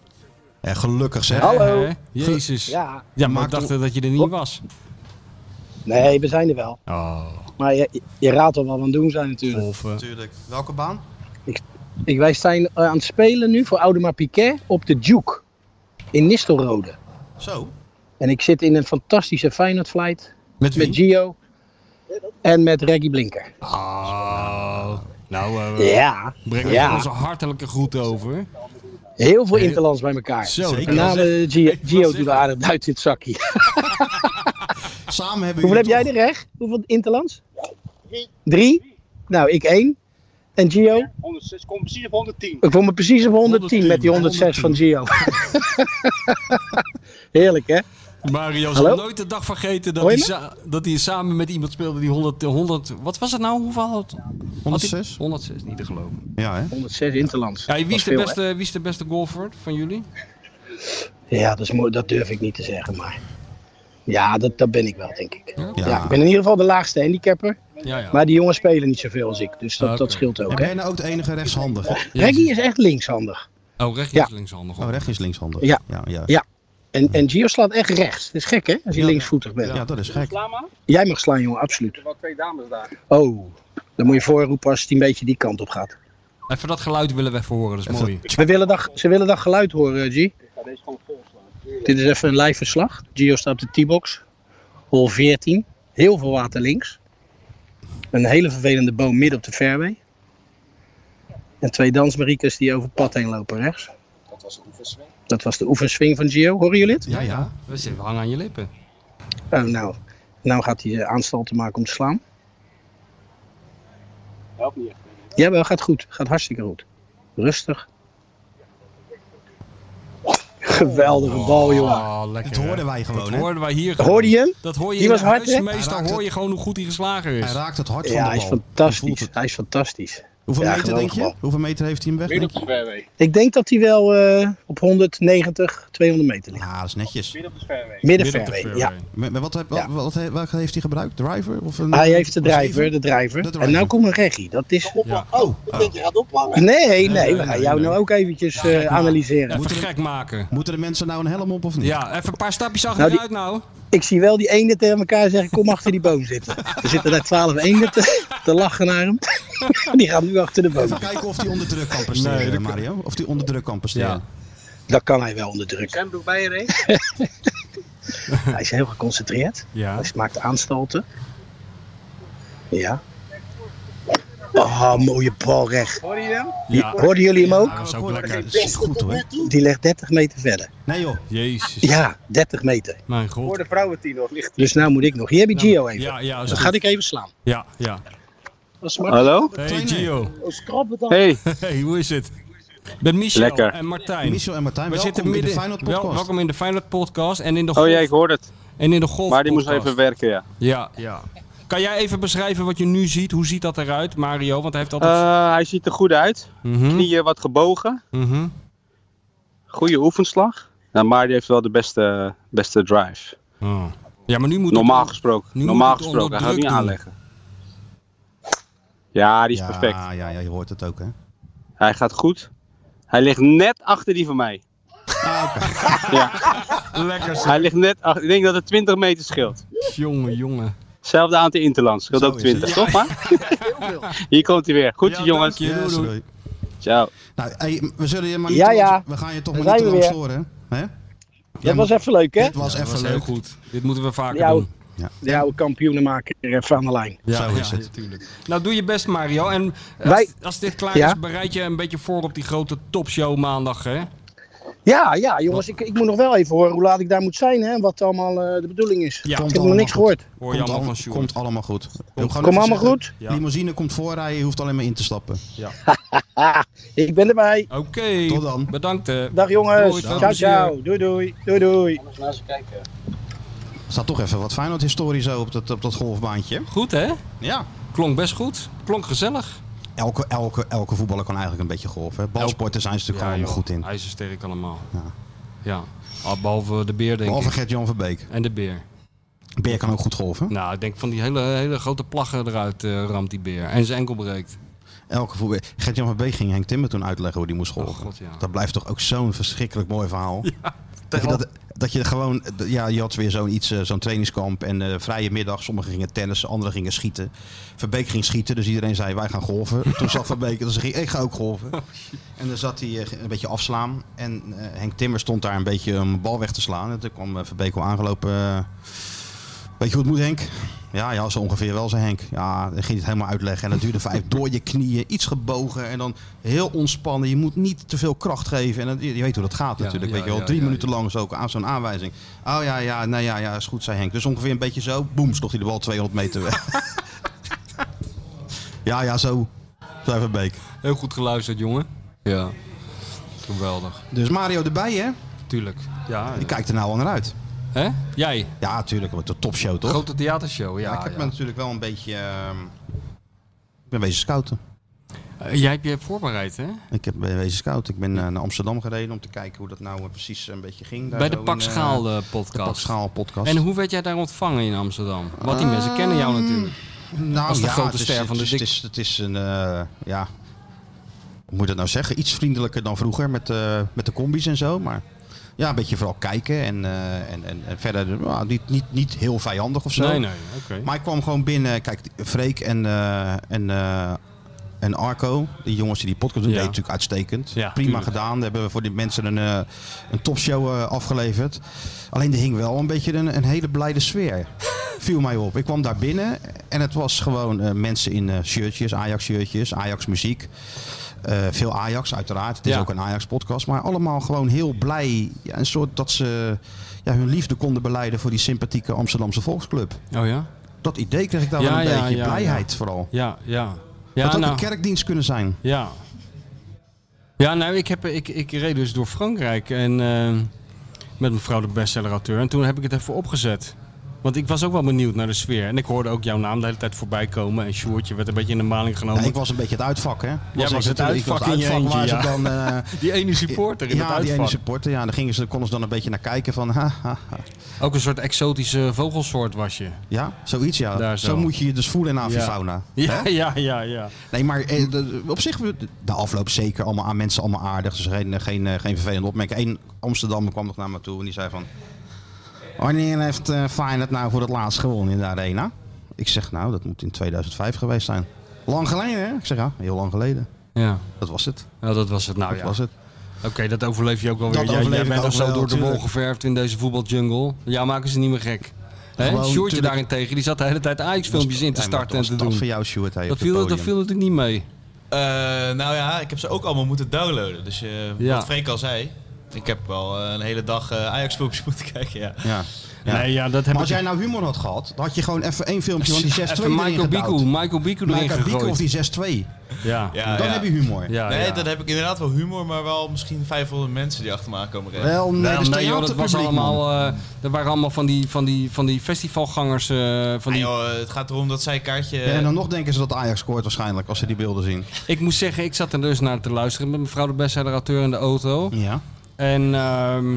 En gelukkig zeg. Hallo. Jezus. Ja, ja. maar Maak ik dacht dat je er niet was. Nee, we zijn er wel. Oh, eh, Maar je, je- je raadt al wat we aan het doen zijn natuurlijk. golven. Natuurlijk. Welke baan? Ik, wij zijn eh, aan het spelen nu voor Audemars Piguet op de Duke in Nistelrode. Zo. En ik zit in een fantastische Feyenoord flight Met wie? met Gio en met Reggie Blinker. Oh. Nou, eh, we Ja, brengen Ja. onze hartelijke groeten over. heel veel interlands bij elkaar. Zo, dat Zeker. kan Met je wel zeggen. name Gio, Ik wil Gio zeggen. doet wel aardig uit dit zakje. Samen hebben Hoeveel heb jullie jij er echt? Hoeveel interlands? Drie. Nou, ik één. En Gio? 106, kom precies op 110. Ik voel me precies op 110 met die 106 van Gio. Heerlijk hè? Mario zal Hallo? nooit de dag vergeten dat Hoor hij, je sa- dat hij samen met iemand speelde die 100... 100 wat was het nou? Hoeveel? had- had hij- 106? 106, niet te geloven. toch- Ja, hè? 106 interlands. Ja, wie, Dat is de veel, beste, wie is de beste golfer van jullie? hè? Ja, dat, is mooi, dat durf ik niet te zeggen, maar... Ja, dat, dat ben ik wel, denk ik. Ja. Ja. ik ben in ieder geval de laagste handicapper. Ja, ja. Maar die jongens spelen niet zoveel als ik, dus dat, Oké. dat scheelt ook. En Hè? ben je nou ook de enige rechtshandige? Reggie is echt linkshandig. Oh, rechts Ja. is linkshandig. Oh, rechts is linkshandig. Ja. Ja, ja. Ja. En, en Gio slaat echt rechts. Dat is gek, hè? Als je Ja. linksvoetig bent. Ja, dat is gek. Sla maar. Er Jij mag slaan, jongen, absoluut. zijn wel twee dames daar. Oh, dan moet je voorroepen als het een beetje die kant op gaat. Even dat geluid willen we even horen, dat is Even- mooi. Ze willen dat, ze willen dat geluid horen, eh, G. Ik ga deze gewoon volslaan. Dit is even een live verslag. Gio staat op de T-box. Hol 14. Heel veel water links. Een hele vervelende boom midden op de fairway. En twee dansmariekes die over het pad heen lopen rechts. Dat was een oefenswing. Dat was de oefenswing van Gio. Horen jullie dit? Ja, ja. We zitten- we hangen aan je lippen. Oh, nou. Nou gaat hij eh, aanstalten maken om te slaan. Helpt niet echt. Jawel, gaat goed. Gaat hartstikke goed. Rustig. Geweldige bal, jongen. Oh, lekker. Dat hoorden hè? wij gewoon, Dat hè? hoorden wij hier gewoon. Hoorde je hem? Dat hoor je Die in was de hard, huis. hè? Hij Meestal raakt hoor je gewoon hoe goed hij geslagen Hij is. raakt het hart van Ja, de hij bal. is Je voelt fantastisch. het. Hij is fantastisch. Hoeveel Ja, meter denk geweldig je? bal. Hoeveel meter heeft hij hem weg? Midden denk op de je? fairway. Ik denk dat hij wel eh, op 190, 200 meter ligt. Ja, dat is netjes. Midden op de fairway. Midden Midden op de fairway, ja. fairway. Maar maar wat, heb- wat, Ja. wat, he- welke heeft hij gebruikt? Driver? Of een, Hij heeft de of zeven? driver, de driver. De En driver. nou komt een reggie. Dat is... Ja. Oh, ik denk je gaat ophangen. Nee, nee, we nee, gaan jou nee. nou ook eventjes eh, analyseren. Even gek maken. Moeten de mensen nou een helm op of niet? Ja, even een paar stapjes Nou, die- achteruit nou. Ik zie wel die eenden tegen elkaar zeggen, kom achter die boom zitten. Er zitten daar twaalf eenden te, te lachen naar hem. Die gaan nu achter de boom. Even kijken of hij onder druk kan presteren, Nee, dat kan- Mario. Of hij onder druk kan presteren. Ja. Dat kan hij wel onder druk. Zijn broek bij je reed. Hij is heel geconcentreerd. Ja. Hij maakt aanstalten. Ja. Oh, mooie bal recht. Hoor je hem? Ja. Hoorden jullie hem ook? dat was ook lekker. Dat is goed hoor. Die ligt 30 meter verder. Nee joh. Jezus. Ja, 30 meter. Mijn god. Voor de vrouwentien nog ligt. Dus nou moet ik nog. Hier heb je Gio even. Ja, ja. is goed. Dan ga ik even slaan. Ja, ja. Oh. Hallo? Hey Gio. Hey, Hey, hoe is het? Met Michel Lekker. en Martijn. Michel en Martijn, We welkom zitten midden, in de Final wel- Podcast. welkom in de Feyenoord podcast en in de oh golf, ja, ik hoor het. en in de golf Maar die moest podcast. even werken, ja. Ja, ja. Kan jij even beschrijven wat je nu ziet? Hoe ziet dat eruit, Mario? Want hij heeft altijd... Eh, hij ziet er goed uit. Mhm, Knieën wat gebogen. mhm. Goede oefenslag. Nou, maar die heeft wel de beste, beste drive. Oh. Ja, maar nu moet Normaal het- gesproken. nu Normaal moet het onder gesproken. Hij gaat het niet druk doen. aanleggen. Ja, die is ja, perfect. Ja, ja, je hoort het ook hè. Hij gaat goed. Hij ligt net achter die van mij. ja, Ah, Lekker zeg. hij ligt net achter. Ik denk dat het 20 meter scheelt. Jongen, jongen. Hetzelfde aantal Interlands. Scheelt Zo ook is het. 20, toch? Maar? Hier komt hij weer. Goed, Ja, jongens. dank je. Yes, doei, doei. doei. Ciao. Nou, hey, we zullen je maar niet Ja, te lang- ja. We gaan je toch Daar maar niet te zijn lang we storen. Hè? Dat was even leuk, hè? Dit was Ja, even dat was leuk. heel goed. Dit moeten we vaker Ja, doen. De oude kampioenenmaker even aan de lijn. Zo is het. natuurlijk. Nou, doe je best, Mario. En eh, als, Wij- als dit klaar Ja? is, bereid je een beetje voor op die grote topshow maandag, hè? Ja, ja, jongens, ik, ik moet nog wel even horen hoe laat ik daar moet zijn hè, en wat allemaal eh, de bedoeling is. Ja. ik Komt heb nog allemaal niks goed. gehoord. Hoor je komt, allemaal allemaal, van Sjoerd. komt allemaal goed. Kom Kom allemaal goed? Ja. Limousine komt voorrijden, je hoeft alleen maar in te stappen. Ah, ik ben erbij. Oké. Tot dan. Bedankt, eh. hè. Dag Doei, jongens. veel ciao, plezier. ciao. Doei, doei. Doei, doei. Staat toch even wat Feyenoord-historie zo op dat, op dat golfbaantje. Goed, hè? Ja. Klonk best goed. Klonk gezellig. Elke, elke, elke voetballer kan eigenlijk een beetje golf. Hè? Balsporten zijn ze natuurlijk allemaal goed in. IJzersterk allemaal. Ja. Ja. ja. Ah, behalve de beer, denk Behalve ik. Gert-Jan van Beek. En de beer. Beer kan ook goed golven. Nou, ik denk van die hele, hele grote plaggen eruit eh, ramt die beer. En zijn enkel breekt. Elke voetbal. Gert-Jan van Beek ging Henk Timmer toen uitleggen hoe die moest golven. Oh, God, ja. Dat blijft toch ook zo'n verschrikkelijk mooi verhaal. Dat je, dat, dat je gewoon, ja, je had weer zo'n iets, eh, zo'n trainingskamp en eh, vrije middag. Sommigen gingen tennissen, anderen gingen schieten. Verbeek ging schieten, dus iedereen zei wij gaan golven. Toen zat Verbeek, dus ging, ik ga ook golven. En dan zat hij eh, een beetje afslaan. En eh, Henk Timmer stond daar een beetje een bal weg te slaan. En toen kwam eh, Verbeek al aangelopen. eh, Weet je hoe het moet, Henk? Ja, ja, zo ongeveer wel, zei Henk. Ja, dan ging het helemaal uitleggen. En dat duurde vijf door je knieën, iets gebogen en dan heel ontspannen. Je moet niet te veel kracht geven. En dat- je je weet hoe dat gaat Ja, natuurlijk. ja, weet je wel, ja, drie ja, minuten ja. lang zo ook aan zo'n aanwijzing. Oh ja, ja, nou ja, ja, is goed, zei Henk. Dus ongeveer een beetje zo, boem, stond hij de bal 200 meter weg. ja, ja, zo. Zo even beek. Heel goed geluisterd, jongen. Ja. Geweldig. Dus Mario erbij, hè? Tuurlijk. Ja. Die kijkt er nou al naar uit. Hè? Jij? Ja, tuurlijk, wordt de topshow toch? Grote theatershow, ja. Maar ik heb ja. me natuurlijk wel een beetje. ehm, Ik ben wezen scouten. Eh, jij hebt je hebt voorbereid, hè? Ik heb bij wezen scout. Ik ben eh, naar Amsterdam gereden om te kijken hoe dat nou eh, precies een beetje ging. daar Bij zo de in, Pak eh, Schaal eh, de podcast. Pak Schaal podcast. En hoe werd jij daar ontvangen in Amsterdam? Want Ehm, die mensen kennen jou natuurlijk. nou, was de grote het is- ster van de het is, dik- het is, het is een, eh, ja, hoe moet ik dat nou zeggen? Iets vriendelijker dan vroeger met, eh, met de combis en zo. Maar ja, een beetje vooral kijken en, eh, en, en, en verder nou, niet, niet, niet heel vijandig of zo. Nee, nee, oké. Maar ik kwam gewoon binnen. Kijk, Freek en, eh, en, eh, en Arco, die jongens die die podcast doen, Ja. deed het natuurlijk uitstekend. Ja, Prima tuurlijk. gedaan. Daar hebben we voor die mensen een, eh, een topshow eh, afgeleverd. Alleen er hing wel een beetje een, een hele blijde sfeer. Viel mij op. Ik kwam daar binnen en het was gewoon eh, mensen in eh, shirtjes, Ajax-shirtjes, Ajax-muziek. Eh, veel Ajax, uiteraard. Het is Ja. ook een Ajax-podcast. Maar allemaal gewoon heel blij. Ja, een soort dat ze ja, hun liefde konden beleiden voor die sympathieke Amsterdamse volksclub. Oh ja? Dat idee kreeg ik daar Ja, wel een ja, beetje. ja, blijheid vooral. Ja, ja. Het Ja, had ook nou, een kerkdienst kunnen zijn. ja. Ja, nou, ik, heb, ik, ik reed dus door Frankrijk en eh, met mevrouw de bestsellerauteur. En toen heb ik het even opgezet. Want ik was ook wel benieuwd naar de sfeer. En ik hoorde ook jouw naam de hele tijd voorbij komen. En Sjoertje werd een beetje in de maling genomen. Ja, ik was een beetje het uitvak, hè? was ik het natuurlijk- ik was uitvak in je uitvak waar eentje, ze dan... eh, Die ene supporter in ja, het die uitvak. ene supporter. Ja, daar gingen ze, konden ze dan een beetje naar kijken van... Ha, ha, ha. Ook een soort exotische vogelsoort was je. Ja, zoiets, ja. Daar zo. zo. moet je je dus voelen in avifauna. fauna. Ja, ja, ja, ja. Nee, maar eh, de- op zich, we- de afloop zeker allemaal aan mensen allemaal aardig. Dus geen, geen, eh, geen vervelende opmerking. Eén Amsterdammer kwam nog naar me toe en die zei van... Wanneer heeft eh Feyenoord nou voor het laatst gewonnen in de arena? Ik zeg nou, dat moet in 2005 geweest zijn. Lang geleden, hè? Ik zeg ja, heel lang geleden. Ja, Dat was het. nou, dat was het nou. dat ja. was het. Oké, dat overleef je ook wel Dat weer. Jij, overleef jij ik bent ook al zo wel, door de wol tuurlijk. geverfd in deze voetbaljungle. Ja, maken ze niet meer gek. Hè? Gewoon, Sjoertje tuurlijk. daarentegen, die zat de hele tijd Ajax-filmpjes in te Ja, Dus- maar starten en als te Dat voor doen. jou, Sjoerd. hij Dat op het viel, dat podium. viel natuurlijk niet mee. Eh, nou ja, ik heb ze ook allemaal moeten downloaden. Dus eh, Ja. wat Freek al zei, ik heb wel eh, een hele dag eh, Ajax-filmpjes moeten kijken. Ja. Ja. Ja. Nee, ja, dat heb Maar als jij nou humor had gehad, dan had je gewoon even één filmpje van die 6-2 Even Michael Biku, Michael Biku erin Michael Biku gegooid. of die 6-2. Ja, ja, Ja, Dan ja. heb je humor. ja. nee, dan heb ik inderdaad wel humor, maar wel misschien 500 mensen die achter me aankomen rennen. Wel, nee, Nee, dat is nee, joh, dat was theaterpubliek, man. allemaal, eh dat waren allemaal van die, van die, van die festivalgangers. eh, van Ah, die... joh, het gaat erom dat zij kaartje... eh, Ja, en dan nog denken ze dat Ajax scoort waarschijnlijk, als ze die beelden zien. Ik moet zeggen, ik zat er dus naar te luisteren met mevrouw de bestseller-auteur in de auto. Ja. En ehm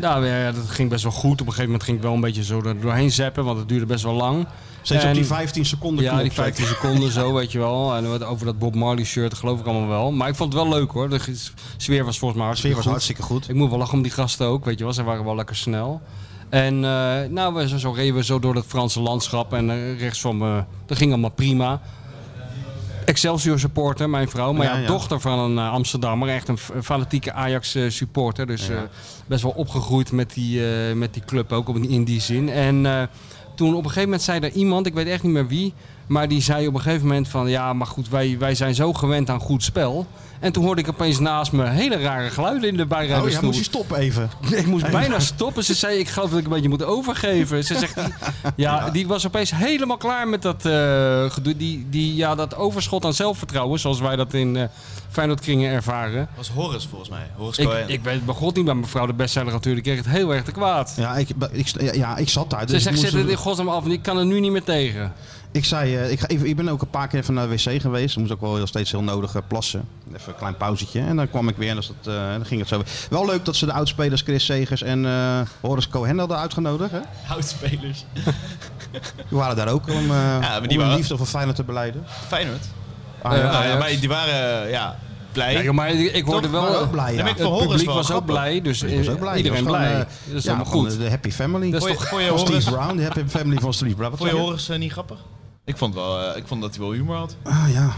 nou, ja, ja, dat ging best wel goed. Op een gegeven moment ging ik wel een beetje zo er doorheen zappen, want het duurde best wel lang. Steeds En- op die 15 seconden Ja, knop, die zeg. 15 seconden zo, weet je wel. En wat over dat Bob Marley shirt, geloof ik allemaal wel. Maar ik vond het wel leuk hoor. De g- sfeer was volgens mij De sfeer hartstikke was goed. hartstikke goed. Ik moet wel lachen om die gasten ook, weet je wel. Ze waren wel lekker snel. En eh, nou, we, zo- zo reden we zo door dat Franse landschap. En eh, rechts van me, dat ging allemaal prima. Excelsior supporter, mijn vrouw. Maar Ja, ja, ja. dochter van een eh, Amsterdammer. Echt een f- een fanatieke Ajax eh, supporter. Dus eh, best wel opgegroeid met die, eh, met die club ook op- in die zin. En eh, toen op een gegeven moment zei er iemand, ik weet echt niet meer wie. Maar die zei op een gegeven moment van ja, maar goed, wij, wij zijn zo gewend aan goed spel. En toen hoorde ik opeens naast me hele rare geluiden in de Oh ja, bijrijdersstoel. moest je stoppen even. Ik moest bijna stoppen. Ze zei, ik geloof dat ik een beetje moet overgeven. Ze zegt, ja, die was opeens helemaal klaar met dat eh, gedoe. Die, die, ja, dat overschot aan zelfvertrouwen, zoals wij dat in eh Feyenoordkringen ervaren. was Horus volgens mij. Horus Ik, Cohen. ik weet het begot niet, maar mevrouw de bestseller natuurlijk kreeg het heel erg te kwaad. Ja, ik, ik, ja, ja, ik zat daar. Ze Dus ik, zegt, moest- zet het in godsnaam af, want ik kan er nu niet meer tegen. ik zei, eh, ik, ga even, ik ben ook een paar keer even naar de wc geweest. Dan moest ook wel heel steeds heel nodig eh, plassen. Even een klein pauzetje. En dan kwam ik weer en dus dat, eh, dan ging het zo. weer. Wel leuk dat ze de oudspelers Chris Segers en eh, Horace Cohen hadden uitgenodigd. Hè? Houtspelers. Die waren daar ook om, eh maar die om hun waren- liefde voor Feyenoord te beleiden. Feyenoord. Eh, Ajax. nou ja, maar die waren eh, ja, blij. Ja, joh, maar ik hoorde Toch? wel... eh, Waren ook blij, ja. Ja, maar ik Het van Het Horus publiek wel was ook grappig. blij, dus Die was ook blij. iedereen Die was gewoon, blij. eh, dat is ja, allemaal van, goed. eh, De happy family. Dat is Vond je- toch- vond je Van Horus- Steve Brown, de happy family van Steve Brown. Wat vond je zei Horus eh, niet grappig? Ik vond, wel, eh, ik vond dat hij wel humor had. Ah ja.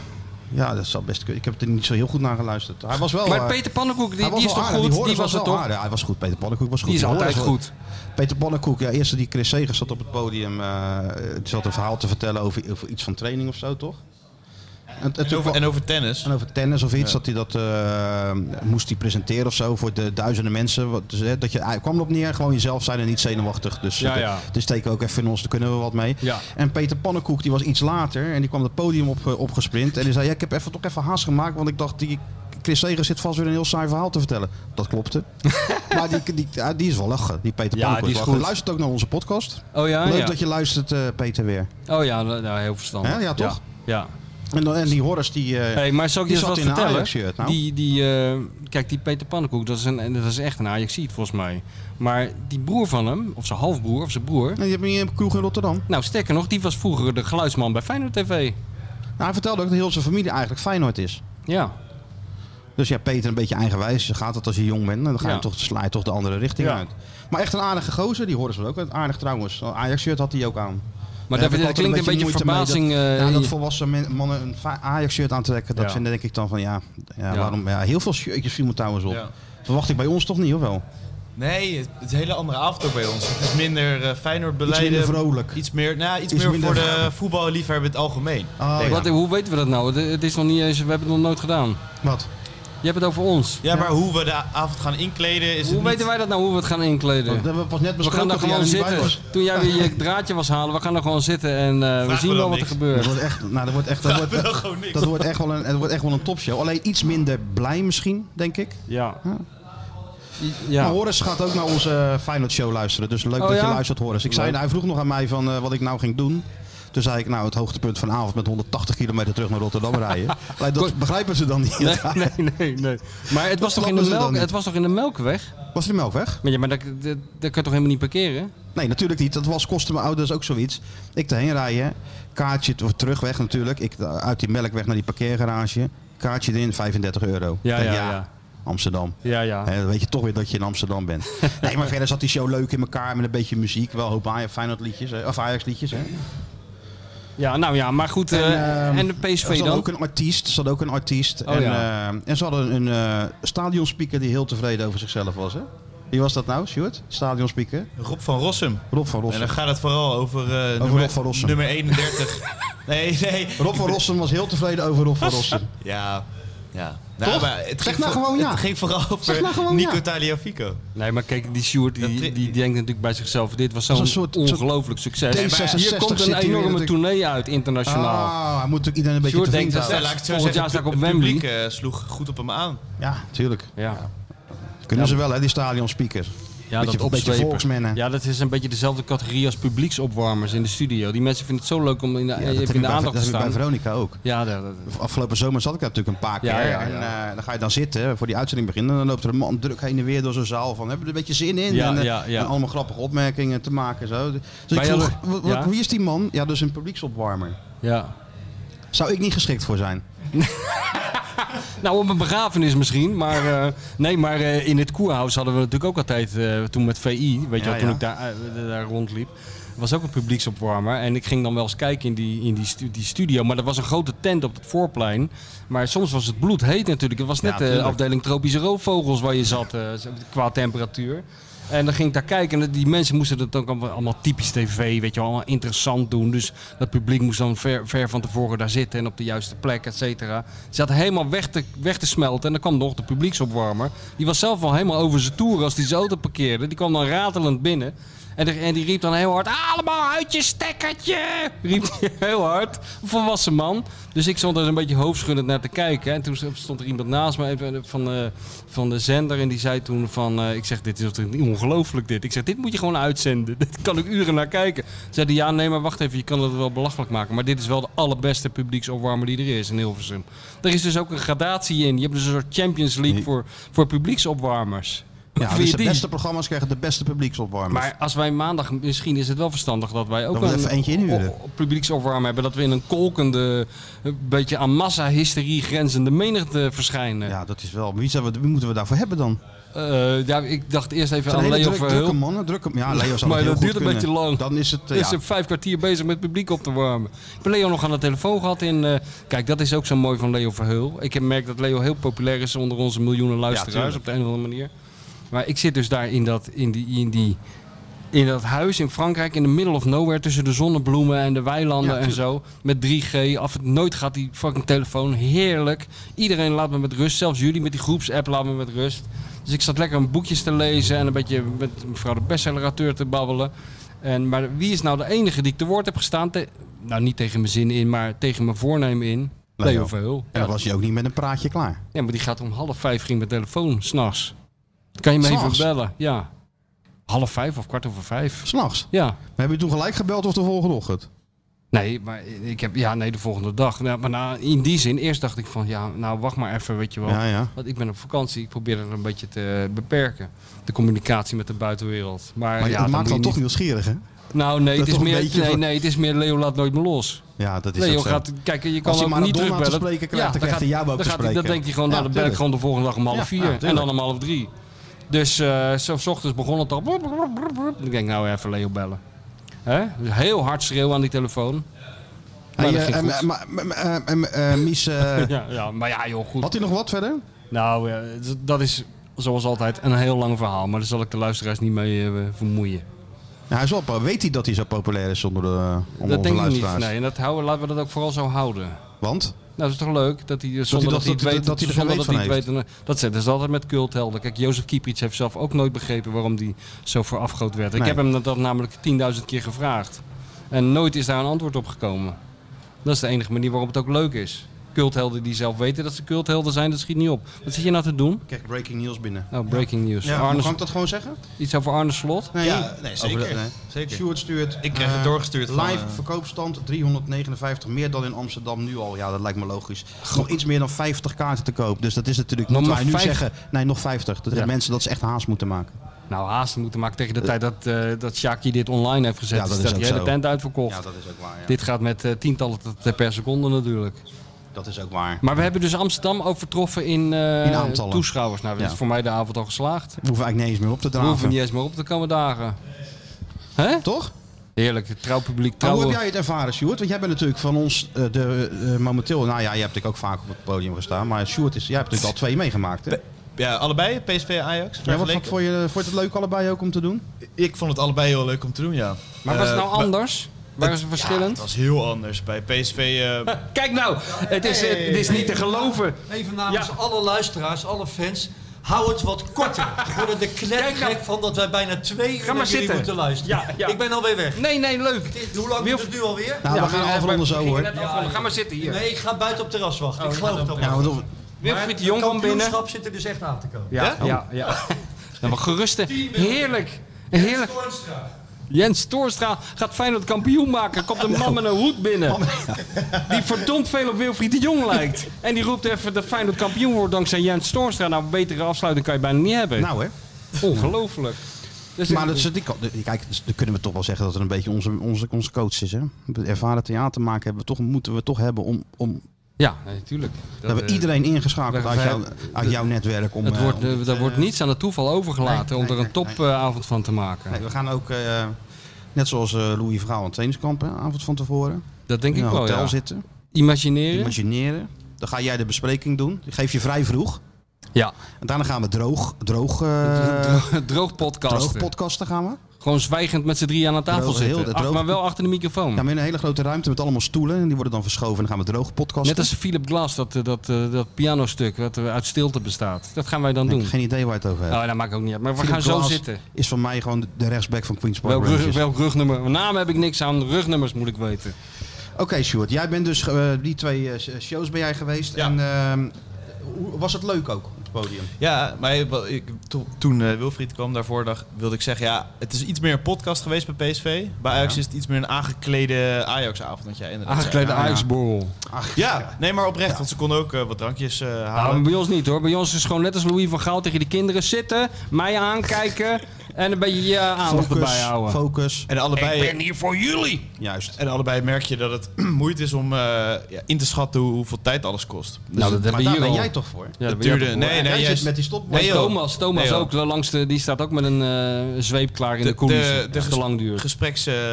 Ja, dat zal best kunnen. Ik heb er niet zo heel goed naar geluisterd. Hij was wel. Maar eh, Peter Pannenkoek, die, hij was die is wel toch aardig. goed? Die, Horus was er wel toch? aardig. Hij was goed. Peter Pannenkoek was goed. Die is Horus altijd was- goed. Peter Pannenkoek, ja, eerste die Chris Segers zat op het podium. eh die zat een verhaal te vertellen over, over iets van training of zo, toch? En, en toen En over, kwam- en over tennis. en over tennis of iets, dat hij dat eh, moest hij presenteren of zo voor de duizenden mensen. Wat, dus, hè, dat je, hij kwam erop neer, gewoon jezelf zijn en niet zenuwachtig. Dus Ja, eh, ja. dus steken we ook even in ons, daar kunnen we wat mee. Ja. En Peter Pannenkoek die was iets later en die kwam het podium op, eh, opgesprint. En die zei, ja, ik heb even, toch even haast gemaakt, want ik dacht, die Chris Segers zit vast weer een heel saai verhaal te vertellen. Dat klopte. maar die, die, ja, die is wel lachen, die Peter Ja, Pannenkoek. die Wel is goed. Hij Luistert ook naar onze podcast. Oh ja, Leuk ja. dat je luistert, eh, Peter, weer. Oh ja, nou, nou, heel verstandig. Hè, ja, toch? Ja. En, dan- en die Horst, die... eh, Hey, maar zou ik je Die eens zat wat in een vertellen? Ajax-shirt, nou. Die, die, eh, kijk, die Peter Pannenkoek, dat is, een, dat is echt een Ajaxiet volgens mij. Maar die broer van hem, of zijn halfbroer, of zijn broer... die hebben hier een kroeg in Rotterdam. Nou, sterker nog, die was vroeger de geluidsman bij Feyenoord TV. Nou, hij vertelde ook dat heel zijn familie eigenlijk Feyenoord is. Ja. Dus ja, Peter, een beetje eigenwijs. zo gaat het als je jong bent. Dan ga je Ja. toch, sla je toch de andere richting Ja. uit. Maar echt een aardige gozer. Die horen ze wel ook. Aardig trouwens. Een Ajax-shirt had hij ook aan. Maar Daar dat, heb ik dat altijd klinkt een beetje moeite mee, verbazing. Dat, eh, ja, dat in- volwassen men- mannen een fa- Ajax-shirt aantrekken. Dat Ja. vinden denk ik dan van ja, ja, Ja. waarom? Ja, heel veel shirtjes viel me trouwens op. Ja. Verwacht ik bij ons toch niet, of wel? Nee, het is een hele andere avond ook bij ons. Het is minder eh Feyenoord Iets beleid. minder vrolijk. Iets meer, nou, iets Iets meer minder voor de vrolijk. voetballiefhebber in het algemeen. Oh, Denk ja. ik. wat, hoe weten we dat nou? Het, het is nog niet eens, we hebben het nog nooit gedaan. Wat? Je hebt het over ons. Ja, maar hoe we de avond gaan inkleden is Hoe het niet... weten wij dat nou, hoe we het gaan inkleden? Oh, Dat hebben we pas net we besproken. gaan daar dat jij gewoon er niet bij zitten. was. Toen jij weer je draadje was halen, we gaan er gewoon zitten en eh, we Vragen zien we wel wat dan er niks. Dat gebeurt. wordt echt, nou, dat wordt echt, dat wordt we dan echt, gewoon niks. dat wordt echt wel een, dat wordt echt wel een topshow. Alleen iets minder blij misschien, denk ik. Ja. Maar ja. Horus gaat ook naar onze eh, Feyenoord show luisteren. Dus leuk Oh, dat ja? je luistert, Horus. Ik zei, nou, Leuk. hij vroeg nog aan mij van eh, wat ik nou ging doen. Toen zei ik, nou, het hoogtepunt vanavond met 180 kilometer terug naar Rotterdam rijden. Alleen dat begrijpen ze dan niet. Nee, nee, nee, nee. Maar het was, toch in snappen de ze dan melk, niet. het was toch in de melkweg? Was die melkweg? Maar, ja, maar dat, dat, dat kan je toch helemaal niet parkeren? Nee, natuurlijk niet. Dat was kosten mijn ouders ook zoiets. Ik daarheen rijden, kaartje t- terugweg natuurlijk. Ik eh, uit die melkweg naar die parkeergarage. Kaartje erin, 35 euro. Ja, Ik denk, ja, ja. Amsterdam. Ja, ja. Hè, Nou dan weet je toch weer dat je in Amsterdam bent. Nee, maar verder zat die show leuk in elkaar met een beetje muziek. Wel een hoop Ajax- Feyenoord liedjes, hè, of Ajax liedjes. Hè. Ja, nou ja, maar goed. eh, En, En, ehm, de Er PSV zat dan? ook een artiest. Er zat ook een artiest. Oh, en, ja. eh, en ze hadden een eh stadionspeaker die heel tevreden over zichzelf was. Hè? Wie was dat nou, Stuart? Stadionspeaker? Rob van Rossum. Rob van En dan Rossum. gaat het vooral over, eh, nummer, Rob van Rossum. nummer 31. nee, nee. Rob van Rossum was heel tevreden over Rob van Rossum. Ja, ja. Nou, Toch? maar het Zeg ging nou voor- gewoon ja. Het ging vooral over nou gewoon Nico ja. Taliafico. Nee, maar kijk, die Sjoerd die, Dat tri- die, denkt natuurlijk bij zichzelf: dit was is zo'n een soort- soort ongelooflijk succes. D66 Maar hier komt zit hier een weer enorme natuurlijk. tournee uit internationaal. Ah, hij moet natuurlijk iedereen een beetje Sjoerd tevreden denkt Ja, houden. dat Dus laat ik het zo Volgend zeggen. jaar sta ik op het Wembley. publiek eh, sloeg goed op hem aan. Ja, tuurlijk. ja. Kunnen ze wel, hè, die stadionspeakers. Ja, beetje, dat beetje opzwepen. volksmennen. Ja, dat is een beetje dezelfde categorie als publieksopwarmers in de studio. Die mensen vinden het zo leuk om in de, Ja, even dat heb ik in de bij- aandacht dat te heb ik bij staan. Veronica ook. ja, dat, dat- Afgelopen zomer zat ik daar natuurlijk een paar keer. Ja, ja, ja. En eh, dan ga je dan zitten voor die uitzending beginnen. En dan loopt er een man druk heen en weer door zo'n zaal van hebben we er een beetje zin in. Ja, en, eh, ja, ja. en allemaal grappige opmerkingen te maken. en Zo. Dus Maar ik ja, vroeg, dat- "Wa- wa- ja. wie is die man? Ja, dus een publieksopwarmer. ja. Zou ik niet geschikt voor zijn? Nou, op een begrafenis misschien. Maar eh, nee, maar eh, in het koerhuis hadden we natuurlijk ook altijd eh, toen met VI. Weet Ja, je wel, toen ja. ik daar, eh, daar rondliep. Was ook een publieksopwarmer. En ik ging dan wel eens kijken in, die, in die, stu- die studio. Maar er was een grote tent op het voorplein. Maar soms was het bloedheet natuurlijk. Het was net eh, de tuurlijk. afdeling tropische roofvogels waar je zat eh, qua temperatuur. En dan ging ik daar kijken en die mensen moesten dat ook allemaal- allemaal typisch tv, weet je wel, allemaal interessant doen. Dus dat publiek moest dan ver, ver van tevoren daar zitten en op de juiste plek, et cetera. Ze zaten helemaal weg te, weg te smelten en dan kwam nog de publieksopwarmer. Die was zelf al helemaal over zijn toer als die zijn auto parkeerde. Die kwam dan ratelend binnen. En, de- en die riep dan heel hard, allemaal uit je stekkertje! Riep hij heel hard. Een volwassen man. Dus ik stond er een beetje hoofdschuddend naar te kijken. En toen stond er iemand naast me even eh, van de, van de zender. En die zei toen van, eh, ik zeg, dit is toch niet ongelooflijk dit. Ik zeg, dit moet je gewoon uitzenden. Dit kan ik uren naar kijken. Zei die, ja nee, maar wacht even, je kan het wel belachelijk maken. Maar dit is wel de allerbeste publieksopwarmer die er is in Hilversum. Er is dus ook een gradatie in. Je hebt dus een soort Champions League voor, voor publieksopwarmers. Ja, je dus de die? beste programma's krijgen de beste publieksopwarmers. Maar als wij maandag, misschien is het wel verstandig dat wij ook we er een even eentje inhuren. o- o- publieksopwarm hebben. Dat we in een kolkende, een beetje aan massahysterie grenzende menigte verschijnen. Ja. ja, dat is wel. Wie, zijn we, wie moeten we daarvoor hebben dan? Het ja, ik dacht eerst even zijn aan hele Leo druk, drukke Verheul. mannen, drukke Ja, Leo zou Maar het heel dat goed duurt een beetje kunnen. lang. Dan is het... eh, Is ja. ze vijf kwartier bezig met publiek op te warmen. Ik ben Leo nog aan de telefoon gehad. In, eh, kijk, dat is ook zo mooi van Leo Verheul. Ik heb merkt dat Leo heel populair is onder onze miljoenen luisteraars tuurlijk. op de een of andere manier. Maar ik zit dus daar in dat, in die, in die, in dat huis in Frankrijk, in de middle of nowhere, tussen de zonnebloemen en de weilanden Ja, en zo. Met 3G. Af het nooit gaat die fucking telefoon. Heerlijk. Iedereen laat me met rust. Zelfs jullie met die groepsapp laat me met rust. Dus ik zat lekker een boekjes te lezen en een beetje met mevrouw de bestsellerauteur te babbelen. En, maar wie is nou de enige die ik te woord heb gestaan? Te- nou, niet tegen mijn zin in, maar tegen mijn voornemen in. Leo. Leo Verheul. En dan was je ook niet met een praatje klaar. Ja, maar die gaat om half vijf ging mijn telefoon, s'nachts. Kan je me even S'nachts? bellen? Ja. Half vijf of kwart over vijf? S'nachts. Ja. Maar heb je toen gelijk gebeld of de volgende ochtend? Nee, maar ik heb, ja, nee, de volgende dag. Nou, maar na, in die zin, eerst dacht ik van, ja, nou, wacht maar even, weet je wel. Ja, ja. Want ik ben op vakantie, ik probeer het een beetje te beperken. De communicatie met de buitenwereld. Maar, Maar ja, het maakt moet dan je toch niet- nieuwsgierig, hè? Nou, nee, dat het is toch een meer, beetje nee, van- nee, het is meer Leo laat nooit me los. Ja, dat is Leo ook zo. gaat, kijk, je kan Als hij hem niet Maradona te terugbellen. spreken krijgt, dan dan krijgt hij jou ook dan te gaat hij- spreken. Dan denkt hij gewoon, Ja, nou, dan ben ik tuurlijk. gewoon de volgende dag om half Ja, vier. ja, en tuurlijk. dan om half drie. Dus eh, zo s ochtends begon het al. Ik denk, nou even Leo bellen. Hè? Dus heel hard schreeuwen aan die telefoon. Maar Hey, dat eh, ging em, goed. em, em, em, em, em, Mies, eh, Ja, ja, maar ja, joh, goed. had hij nog wat verder? Nou, eh, d- dat is zoals altijd een heel lang verhaal. Maar daar zal ik de luisteraars niet mee eh, vermoeien. Ja, hij is wel, po- weet hij dat hij zo populair is onder, de, onder dat onze denk ik niet. luisteraars? Nee, en dat houden, laten we dat ook vooral zo houden. Want? Nou, dat is toch leuk dat hij eh, zonder dat- dat, hij het dat- weet, dat hij er geen zonder weet dat van hij het weet. en, eh, Dat zijn dus altijd met culthelden. Kijk, Jozef Kieprits heeft zelf ook nooit begrepen waarom hij zo verafgroot werd. Ik Nee. heb hem dat, dat namelijk 10.000 keer gevraagd. En nooit is daar een antwoord op gekomen. Dat is de enige manier waarop het ook leuk is. Culthelden die zelf weten dat ze culthelden zijn, dat schiet niet op. Wat zit je nou te doen? Kijk, breaking news binnen. Nou, breaking news. Ja, Arne, kan ik dat gewoon zeggen? iets over Arne Slot? Nee, Ja, nee, zeker. Over de- nee. Zeker. Stuart stuurt. Ik kreeg het eh, doorgestuurd van, Live eh, verkoopstand 359, meer dan in Amsterdam nu al. Ja, dat lijkt me logisch. Nog iets meer dan 50 kaarten te koop. Dus dat is natuurlijk Nog niet maar waar wij nu 50? zeggen. Nee, nog 50. Dat Ja. mensen dat ze echt haast moeten maken. Nou, haast moeten maken tegen de tijd dat, eh dat Shaki dit online heeft gezet. Ja, dat is is dat ook die hele zo. tent uitverkocht. dat is ook waar. Dit gaat met eh, tientallen t- t- per seconde natuurlijk. Dat is ook waar. Maar we hebben dus Amsterdam overtroffen in, eh, In aantallen. toeschouwers. Nou, dat Ja. is voor mij de avond al geslaagd. We hoeven eigenlijk niet eens meer op te We hoeven draven. niet eens meer op de komende dagen. Hè? Toch? Heerlijk, het trouwpubliek Maar Oh, hoe trouwen. heb jij het ervaren, Sjoerd? Want jij bent natuurlijk van ons eh, de, eh, momenteel... Nou ja, jij hebt natuurlijk ook vaak op het podium gestaan. Maar Sjoerd, is, jij hebt natuurlijk al twee meegemaakt. Hè? Ja, allebei, PSV en Ajax. Ja, wat, vergeleken. wat vond, je, vond je het leuk allebei ook om te doen? Ik vond het allebei heel leuk om te doen, ja. Maar was het Eh, nou anders? Waren ze Ja, verschillend? het was heel anders. Bij PSV... eh Kijk nou, het is, eh, het is niet te geloven. Even namens Ja. dus alle luisteraars, alle fans. Hou het wat korter. We worden er knettergek van dat wij bijna twee uur naar maar jullie zitten. moeten luisteren. Ja, ja. Ik ben alweer weg. Nee, nee, leuk. Dit- Hoe lang Wilf- duurt het nu alweer? Nou, we Ja, gaan maar- afronden maar- zo, ik hoor. net afronden. Ga maar zitten hier. Nee, ik ga buiten op terras wachten. Oh, ik geloof dat Ja, wel. want of- Wilfried de het Jong kwam binnen. kampioenschap zit er dus echt aan te komen. Ja, ja, ja. Nou, maar gerust. hè. Heerlijk. Heerlijk. Jens Toorstra gaat Feyenoord kampioen maken. Komt Nou. een man met een hoed binnen. Oh, Die verdomd veel op Wilfried de Jong lijkt. En die roept even dat Feyenoord kampioen wordt dankzij Jens Toorstra. Nou, een betere afsluiting kan je bijna niet hebben. nou hè. Ongelooflijk. Dus Maar dat is, die, kan- kijk, dus dan kunnen we toch wel zeggen dat het een beetje onze, onze, onze coach is. Hè? Met Ervaren theater maken hebben we toch, moeten we toch hebben om, om Ja, natuurlijk. dat we iedereen ingeschakeld eh, we- uit, jou, uit jouw netwerk. Om, Het eh, wordt, om- eh, daar wordt niets aan het toeval overgelaten Nee, om er nee, een topavond van te maken. Nee, we gaan ook, eh, net zoals eh, Louis Verhaal en Teeniskamp, hè, avond van tevoren, Dat denk in ik een wel, hotel Oh, ja. zitten, Imagineren? imagineren. Dan ga jij de bespreking doen. Die geef je vrij vroeg. Ja. En daarna gaan we droog, droog, eh, Droog droog podcasten. podcasten gaan we. Gewoon zwijgend met z'n drieën aan de tafel Droog, zitten. heel de Ach, droog- maar wel achter de microfoon. Ja, maar in een hele grote ruimte met allemaal stoelen. En die worden dan verschoven en dan gaan we droog podcasten. Net als Philip Glass, dat, eh, dat, eh, dat pianostuk dat eh, uit stilte bestaat. Dat gaan wij dan Ik heb doen. geen idee waar je het over hebt. Nou, dat maakt ook niet uit. Maar we Philip gaan zo Glass zitten. Is van mij gewoon de rechtsback van Queen's Park Welk, rug, Rangers. welk rugnummer? Naam heb ik niks aan, rugnummers moet ik weten. Oké, Sjoerd. Jij bent dus, eh, die twee eh, shows ben jij geweest. Ja. En ehm, hoe- was het leuk ook op het podium? ja, maar wat ik, to- toen eh, Wilfried kwam daarvoor, dag, wilde ik zeggen... Ja, het is iets meer een podcast geweest bij PSV. Bij Ajax is het iets meer een aangeklede Ajax-avond. Ja, inderdaad. Aangeklede ja. Ajaxborrel. Ja, nee, maar oprecht, want ze konden ook eh, wat drankjes eh, Ah. Nou, halen. maar bij ons niet hoor. Bij ons is gewoon net als Louis van Gaal tegen de kinderen zitten, mij aankijken en een beetje je aandacht erbij Focus, houden. focus. En allebei, hier voor jullie. Juist. en allebei merk je dat het moeite is om eh, ja, in te schatten hoe- hoeveel tijd alles kost. Dus Nou, dat hebben Maar we daar hier ben al. jij toch voor? Ja, dat het ben jij duurde. toch- Nee, En nee, jij juist- zit met die stopbord. Nee, Nee, joh. Thomas, Thomas Nee, joh. ook. Langs de, die staat ook met een eh, zweep klaar in de, de, de, coulissen. de, als het te ges- lang duurt.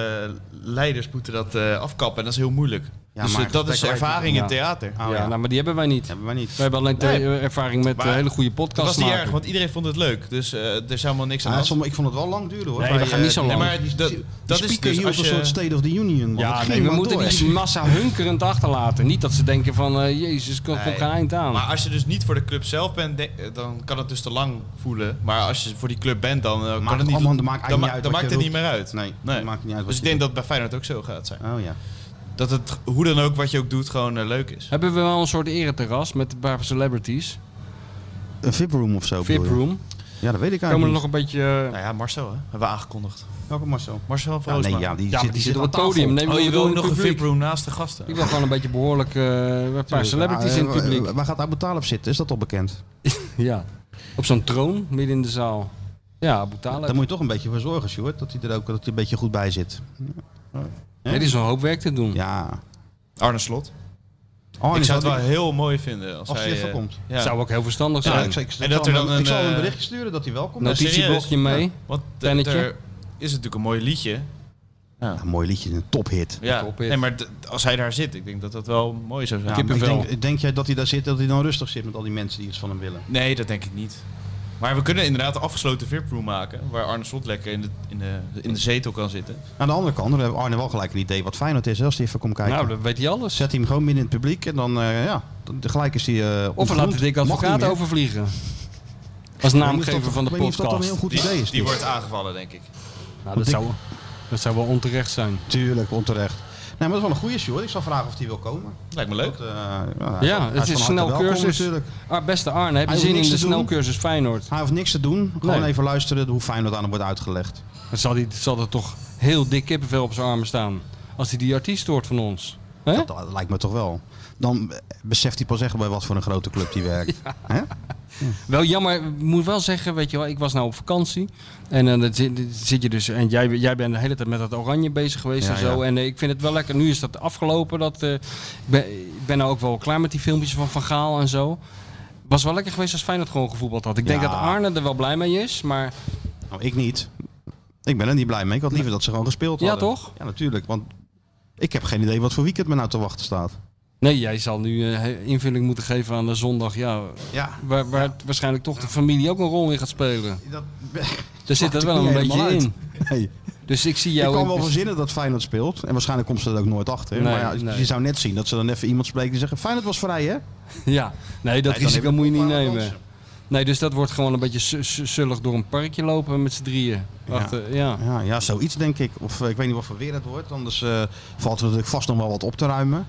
gespreksleiders moeten dat eh, afkappen en dat is heel moeilijk. Ja, dus maar eh, dat is gesprekken- ervaring Ja. in theater. Oh, ja, ja. nou, maar die hebben wij niet. Hebben we niet. We hebben alleen te- Nee. ervaring met eh, Maar hele goede Dat was podcasts niet maken. erg, want iedereen vond het leuk. Dus eh, er is helemaal niks aan Ja, de hand. sommige- ik vond het wel lang duren hoor. Nee, Bij, we gaan eh, niet zo lang. Nee, maar dat, dat die is speaker dus hield als een je... soort State of the Union. man. Het ja, ging nee, we maar moeten door. die massa hunkerend achterlaten. Niet dat ze denken van, eh, jezus, kom, Nee. geen eind aan. Maar als je dus niet voor de club zelf bent, denk- eh, dan kan het dus te lang voelen. Maar als je voor die club bent, dan eh, kan Maakt het niet... allemaal- maakt eigenlijk dan niet ma- uit dan wat maakt je het niet roept. meer uit. Nee, dat maakt niet uit wat Dus ik je denk dat het bij Feyenoord ook zo gaat zijn. Oh ja. Dat het hoe dan ook, wat je ook doet, gewoon eh, leuk is. Hebben we wel een soort ereterras met een paar celebrities? Een VIP room of zo. bedoel VIP je? room. Ja, dat weet ik eigenlijk. Komen er niet. nog een beetje... eh, Nou ja, Marcel, hè? hebben we aangekondigd. Welke Marcel? Marcel van Ja, nee, Roosma. ja, die, zit, ja, maar die die zit zitten aan op het podium. tafel. Nee, Oh, we je wil ook bedoelen nog een publiek. VIP-room naast de gasten. Ik wil gewoon een beetje behoorlijk eh, een paar celebrities in Ah, het eh, publiek. Waar gaat Abu Talib zitten? Is dat al bekend? Ja. Op zo'n troon midden in de zaal. Ja, Abu Talib. Daar moet je toch een beetje voor zorgen, Sjoerd. Dat hij er ook dat hij een beetje goed bij zit. Nee, Er is een hoop werk te doen. Ja. Arne Slot. Oh, ik en zou het zal wel die- heel mooi vinden als, Als hij hij... even eh, komt. Ja. Zou ook heel verstandig Ja, zijn. ik, ik, ik, En zal dat er hem- dan ik een, zal hem een eh, berichtje sturen dat hij welkom Nou, is. Notitieblokje serieus? mee. Ja, Want eh, Pennetje. er is natuurlijk een mooi liedje. Ja, een mooi liedje, een tophit. Ja, top is. nee, maar d- als hij daar zit, ik denk dat dat wel mooi zou zijn. Ja, maar Nou, ik denk, denk jij dat hij daar zit, dat hij dan rustig zit met al die mensen die iets van hem willen? Nee, dat denk ik niet. Maar we kunnen inderdaad een afgesloten VIP-room maken. Waar Arne Slot lekker in de, in, de, in de zetel kan zitten. Aan de andere kant, dan heeft Arne wel gelijk een idee wat Feyenoord is hè, als hij even komt kijken. Nou, dan weet hij alles. Zet hij hem gewoon midden in het publiek en dan, eh, ja, dan- gelijk is hij eh Of we ontgroend. laten Dick Mag niet Advocaat meer. overvliegen. Als Ik weet niet of naamgever dat- van de Ik weet niet of dat dan een heel podcast. goed Die, idee is. die dit. wordt aangevallen, denk ik. Nou, dat, Dick- zou, dat zou wel onterecht zijn. Tuurlijk, onterecht. Nee, maar dat is wel een goede Sjoerd. Ik zal vragen of hij wil komen. Lijkt me leuk. Dat, eh, ja, hij Ja, hij het van is harte snel welkom cursus. natuurlijk. Ah, beste Arne, heb je Hij hoeft zin in niks de te doen. snelcursus Feyenoord? Hij heeft niks te doen. Gewoon Nee. even luisteren hoe Feyenoord aan hem wordt uitgelegd. Dan zal, die, zal er toch heel dik kippenvel op zijn armen staan. Als hij die artiest hoort van ons. Hè? Dat, dat lijkt me toch wel. Dan eh, beseft hij pas echt bij wat voor een grote club hij werkt. Hè? Wel jammer, ik moet wel zeggen, weet je wel, ik was nou op vakantie. En eh, dan zit, zit je dus, en jij, jij bent de hele tijd met dat oranje bezig geweest Ja, en zo. ja. En eh, ik vind het wel lekker, nu is dat afgelopen. Dat, eh, ik, ben, ik ben nou ook wel klaar met die filmpjes van Van Gaal en zo. Was wel lekker geweest als Feyenoord gewoon gevoetbald had. Ik denk Ja. dat Arne er wel blij mee is, maar Nou, ik niet. Ik ben er niet blij mee. Ik had liever dat ze gewoon gespeeld Ja, hadden. toch? Ja, natuurlijk. Want ik heb geen idee wat voor weekend me nou te wachten staat. nee, jij zal nu eh, he- invulling moeten geven aan de zondag. Ja, Ja, waar, waar het waarschijnlijk toch de familie ook een rol in gaat spelen. dat Daar zit maakt dat ik wel een niet beetje helemaal uit. in. Nee. Dus ik zie Ik jou... kan in- wel verzinnen dat Feyenoord speelt. En waarschijnlijk komt ze er ook nooit achter. Nee, maar ja, nee. je zou net zien dat ze dan even iemand spreekt die zegt... Feyenoord was vrij, hè? Ja, nee, dat Nee, dan risico heb je moet je niet bepaalde nemen. kansen. Nee, dus dat wordt gewoon een beetje su- su- zullig door een parkje lopen met z'n drieën. Wacht, eh, ja. Ja, ja, zoiets denk ik. Of eh, ik weet niet wat voor weer het wordt. Anders eh, valt er natuurlijk vast nog wel wat op te ruimen.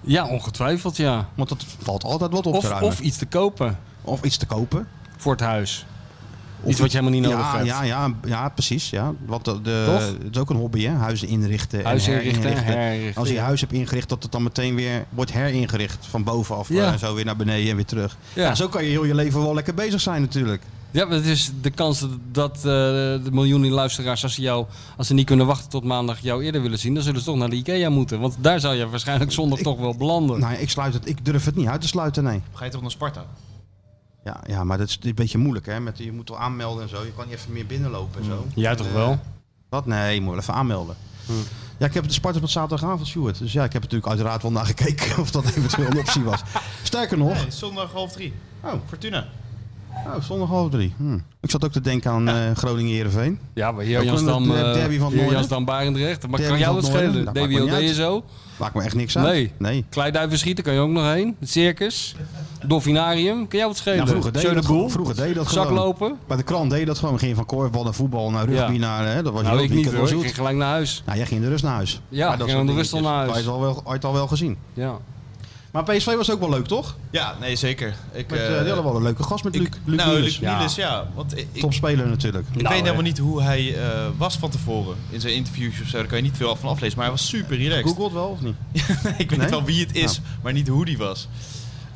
ja, ongetwijfeld ja. Want dat valt altijd wat op te Of, ruimen. of iets te kopen Of iets te kopen. voor het huis. Of Iets wat je helemaal niet nodig ja, hebt. Ja, ja, ja, precies. Ja. Want de, de- Toch? het is ook een hobby, hè? Huizen inrichten. en Huis inrichten, herinrichten. herinrichten, Als je je ja. huis hebt ingericht, dat het dan meteen weer wordt heringericht. Van bovenaf Ja. en zo weer naar beneden en weer terug. Ja. Ja, zo kan je heel je leven wel lekker bezig zijn natuurlijk. Ja, maar het is de kans dat- dat eh, de miljoenen luisteraars, als ze, jou, als ze niet kunnen wachten tot maandag, jou eerder willen zien, dan zullen ze toch naar de IKEA moeten. Want daar zou je waarschijnlijk zondag toch wel belanden. Nou, ik, sluit het, ik durf het niet uit te sluiten, nee. Ga je toch naar Sparta? Ja, ja maar dat is een beetje moeilijk, hè? Met, je moet wel aanmelden en zo. Je kan niet even meer binnenlopen en zo. Eh, Jij Mm. toch wel? Mm. Wat? Nee, je moet wel even aanmelden. Ja, ik heb de Spartans op zaterdagavond, Sjoerd. Dus ja, ik heb natuurlijk uiteraard wel naar gekeken of dat eventueel een optie was. Sterker nog, Nee, zondag half drie. Oh. Fortuna. Oh, zondag half drie. Hm. Ik zat ook te denken aan eh Groningen-Herenveen. Ja, maar Ook hier een Jansdam, derby van het uh, noorden. Jansdam Barendrecht. Maar Derby kan jou van dat het noorden. Nou, schelen? maakt me DWOD niet en uit. zo? Maakt me echt niks uit. Nee. nee. Kleiduivenschieten kan je ook nog heen. Het circus. Dolfinarium. Kan jou wat schelen? Ja, Nou, vroeger deed je dat, Schönebuhl. gewoon- vroeger deed je dat gewoon. Zaklopen. Bij de krant deed je dat gewoon. Ging je van korfbal naar voetbal naar rugby Ja. naar... Hè, dat was heel Nou, ik het niet weekend wel hoor. Ik zoet. ging gelijk naar huis. Nou, jij ging de rust naar huis. Ja, dat ik ging soort om de rust al dingetjes. naar huis. Had je het al wel, had je het al wel gezien. Ja. Maar PSV was ook wel leuk, toch? Ja, nee, zeker. Ik, Met, eh, eh, die hadden wel een leuke gast met ik- Luc, Luc nou, Niels. Luc Niels, ja. Want ik, ik, Topspeler natuurlijk. Nou, ik Nou, weet helemaal niet hoe hij eh, was van tevoren. In zijn interviews of zo, daar kan je niet veel van aflezen. Maar hij was super relaxed. Googled wel of niet? ik weet Nee? wel wie het is, Nou. maar niet hoe die was.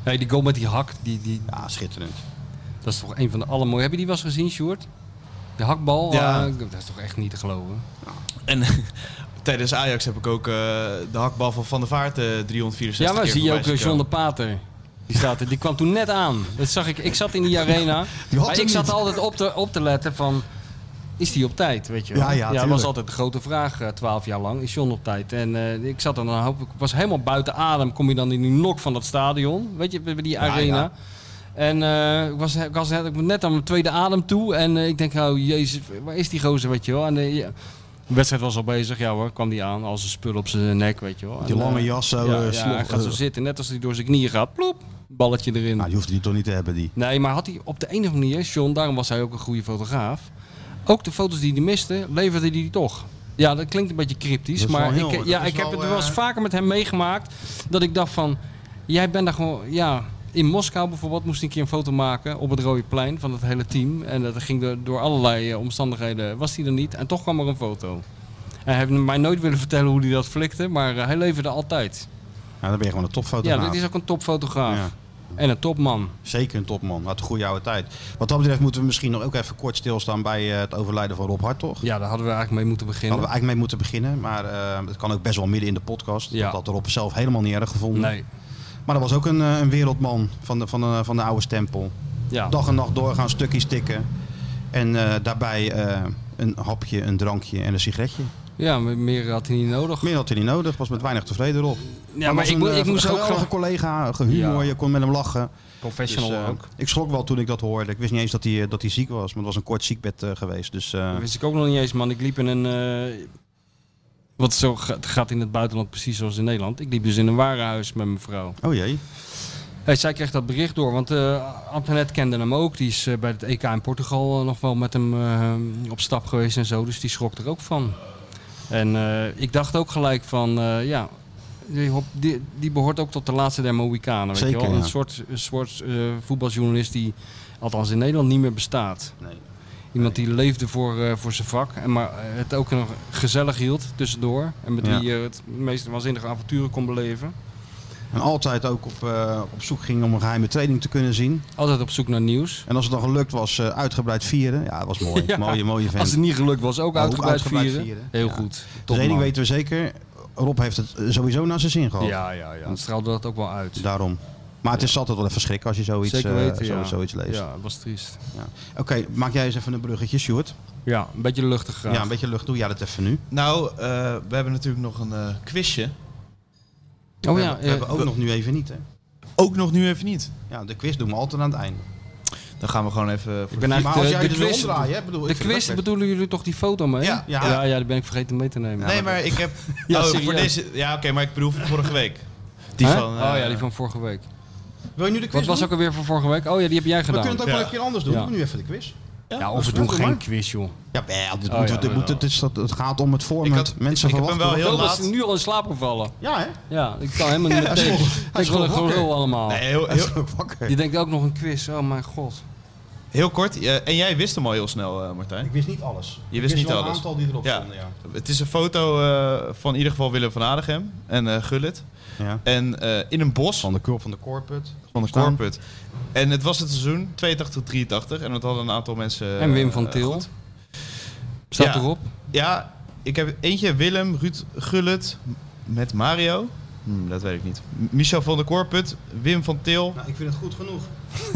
Nee, die goal met die hak, die, die, Ja, schitterend. dat is toch een van de allermooiste. Heb je die wel eens gezien, Sjoerd? De hakbal, Ja. eh, dat is toch echt niet te geloven. En tijdens Ajax heb ik ook eh, de hakbal van Van der Vaart eh 364 Ja, maar keer zie je voorbij ook zien eh, John komen. de Pater. Die, staat er, die kwam toen net aan. Dat zag ik. Ik zat in die arena. Die had maar hem ik zat niet. altijd op te, op te letten van... Is die op tijd, weet je wel? Ja, ja, dat tuurlijk. was altijd de grote vraag, eh, twaalf jaar lang. Is John op tijd? En eh, ik zat er dan, een hoop- ik was helemaal buiten adem. Kom je dan in die nok van dat stadion, weet je, bij bij die arena. ja. En eh, ik, was, ik was net- ik was net aan mijn tweede adem toe. En eh, ik denk, oh jezus, waar is die gozer, weet je wel? En, eh, ja. De wedstrijd was al bezig, ja hoor, kwam die aan. Als een spul op zijn nek, weet je wel. Die En, lange eh, jas zo. ja, eh, ja, slog, hij gaat zo eh, zitten. Net als hij door zijn knieën gaat, ploep, balletje erin. nou, die hoefde die toch niet te hebben, die. Nee, maar had hij op de ene manier, John, daarom was hij ook een goede fotograaf. Ook de foto's die hij miste, leverde hij die toch. Ja, dat klinkt een beetje cryptisch, Dat is maar wel heel- ik, dat ja, is ik heb wel, het wel eens eh, vaker met hem meegemaakt. Dat ik dacht van, jij bent daar gewoon, ja... In Moskou bijvoorbeeld moest hij een keer een foto maken op het Rode Plein van het hele team. En dat ging door, door allerlei eh, omstandigheden, was hij er niet. En toch kwam er een foto. En hij heeft mij nooit willen vertellen hoe hij dat flikte, maar eh, hij leverde altijd. Nou, dan ben je gewoon een topfotograaf. Ja, dat is ook een topfotograaf. Ja. En een topman. Zeker een topman. Uit de goede oude tijd. Wat dat betreft moeten we misschien nog ook even kort stilstaan bij eh, het overlijden van Rob Hartog. Ja, daar hadden we eigenlijk mee moeten beginnen. Hadden we eigenlijk mee moeten beginnen, maar eh, het kan ook best wel midden in de podcast. Ja. Dat had Rob zelf helemaal niet erg gevonden. Nee. Maar dat was ook een, eh, een wereldman van de, van, de, van de oude stempel. Ja. Dag en nacht doorgaan, stukjes tikken. En eh, daarbij eh, een hapje, een drankje en een sigaretje. ja, maar meer had hij niet nodig. Meer had hij niet nodig, was met weinig tevreden Rob. Ja, maar was ik, een, mo- eh, ik moest ook geweldige graag collega, humor, Ja. je kon met hem lachen. professional Dus, eh, ook. Ik schrok wel toen ik dat hoorde. Ik wist niet eens dat hij, eh, dat hij ziek was, maar het was een kort ziekbed eh, geweest. Dus eh, Dat wist ik ook nog niet eens, man. Ik liep in een... eh, wat zo ga- gaat in het buitenland precies zoals in Nederland. Ik liep dus in een warenhuis met mijn vrouw. oh jee. Hey, zij kreeg dat bericht door, want eh Antoinette kende hem ook. Die is eh, bij het EK in Portugal eh, nog wel met hem eh, op stap geweest en zo. Dus die schrok er ook van. En eh, ik dacht ook gelijk van, eh, ja, die, hop- die, die behoort ook tot de laatste der Mohikanen. Weet Zeker, je wel? ja. Een soort, een soort eh, voetbaljournalist die, althans in Nederland, niet meer bestaat. Nee. Iemand die leefde voor, eh, voor zijn vak, en maar het ook nog gezellig hield tussendoor. En met Ja. wie je het meest waanzinnige avonturen kon beleven. En altijd ook op, eh, op zoek ging om een geheime training te kunnen zien. Altijd op zoek naar nieuws. En als het dan gelukt was, eh, uitgebreid vieren. Ja, dat was mooi. Ja. Mooie, mooie vent. Als het niet gelukt was, ook Ook uitgebreid, uitgebreid vieren. vieren. Heel Ja. goed. Dus Top één ding man. weten we zeker. Rob heeft het eh, sowieso naar zijn zin gehad. Ja, ja, ja. Dan straalde dat ook wel uit. Daarom. Maar het is altijd wel even schrik als je zoiets, Zeker eh, weten, zo- ja. zoiets leest. Ja, dat was triest. Ja. Oké, maak jij eens even een bruggetje, Sjoerd. Ja, een beetje luchtig graag. Ja, een beetje lucht. Doe jij dat even nu. Nou, eh, we hebben natuurlijk nog een eh, quizje. Oh we ja, hebben, we hebben ook we- nog nu even niet, hè? Ook nog nu even niet. Ja, de quiz doen we altijd aan het einde. Dan gaan we gewoon even... Voor ben de- eigenlijk- Maar als de jij het wil quiz- omdraaien, hè, bedoel de ik vind quiz, dat best- bedoelen jullie toch die foto mee? Ja, ja. ja, ja, die ben ik vergeten mee te nemen. nee, maar ik heb... Ja, oh, voor serieus. deze... Ja, oké, maar ik bedoel voor vorige week. Die Hè? van... eh, oh ja, die van vorige week. Wil je nu de quiz Wat was doen? ook alweer van vorige week? Oh ja, die heb jij We kunnen gedaan. het ook Ja. wel een keer anders doen. Ja. Doe nu even de quiz. Ja, of we dat doen is geen maar. quiz, joh. Ja, wel, dit Oh, moet, ja, dit moet, wel. dit is, dat- het gaat om het format. Ik had- Mensen ik heb hem verwachten. wel heel Heel laat... is nu al in slaap gevallen. Ja, hè? Ja, ik kan helemaal niet meer tegen. Ik wil een gelul allemaal. Nee, heel, Hij heel, is ook wakker. Die denkt ook nog een quiz. Oh mijn god. heel kort. eh, en jij wist hem al heel snel, eh, Martijn. Ik wist niet alles. Je wist niet een alles. aantal die erop Ja. stonden, ja. Het is een foto eh, van in ieder geval Willem van Adegem en eh Gullit. ja. En eh, in een bos Van de Kulp van de Corput. van de Staan. Corput. En het was het seizoen 82-83. En dat hadden een aantal mensen... en Wim eh, van Til. goed. Staat Ja. erop. Ja, ik heb eentje Willem, Ruud Gullit met Mario. Hm, dat weet ik niet. M- Michel van der Korput, Wim van Til, Nou, ik vind het goed genoeg.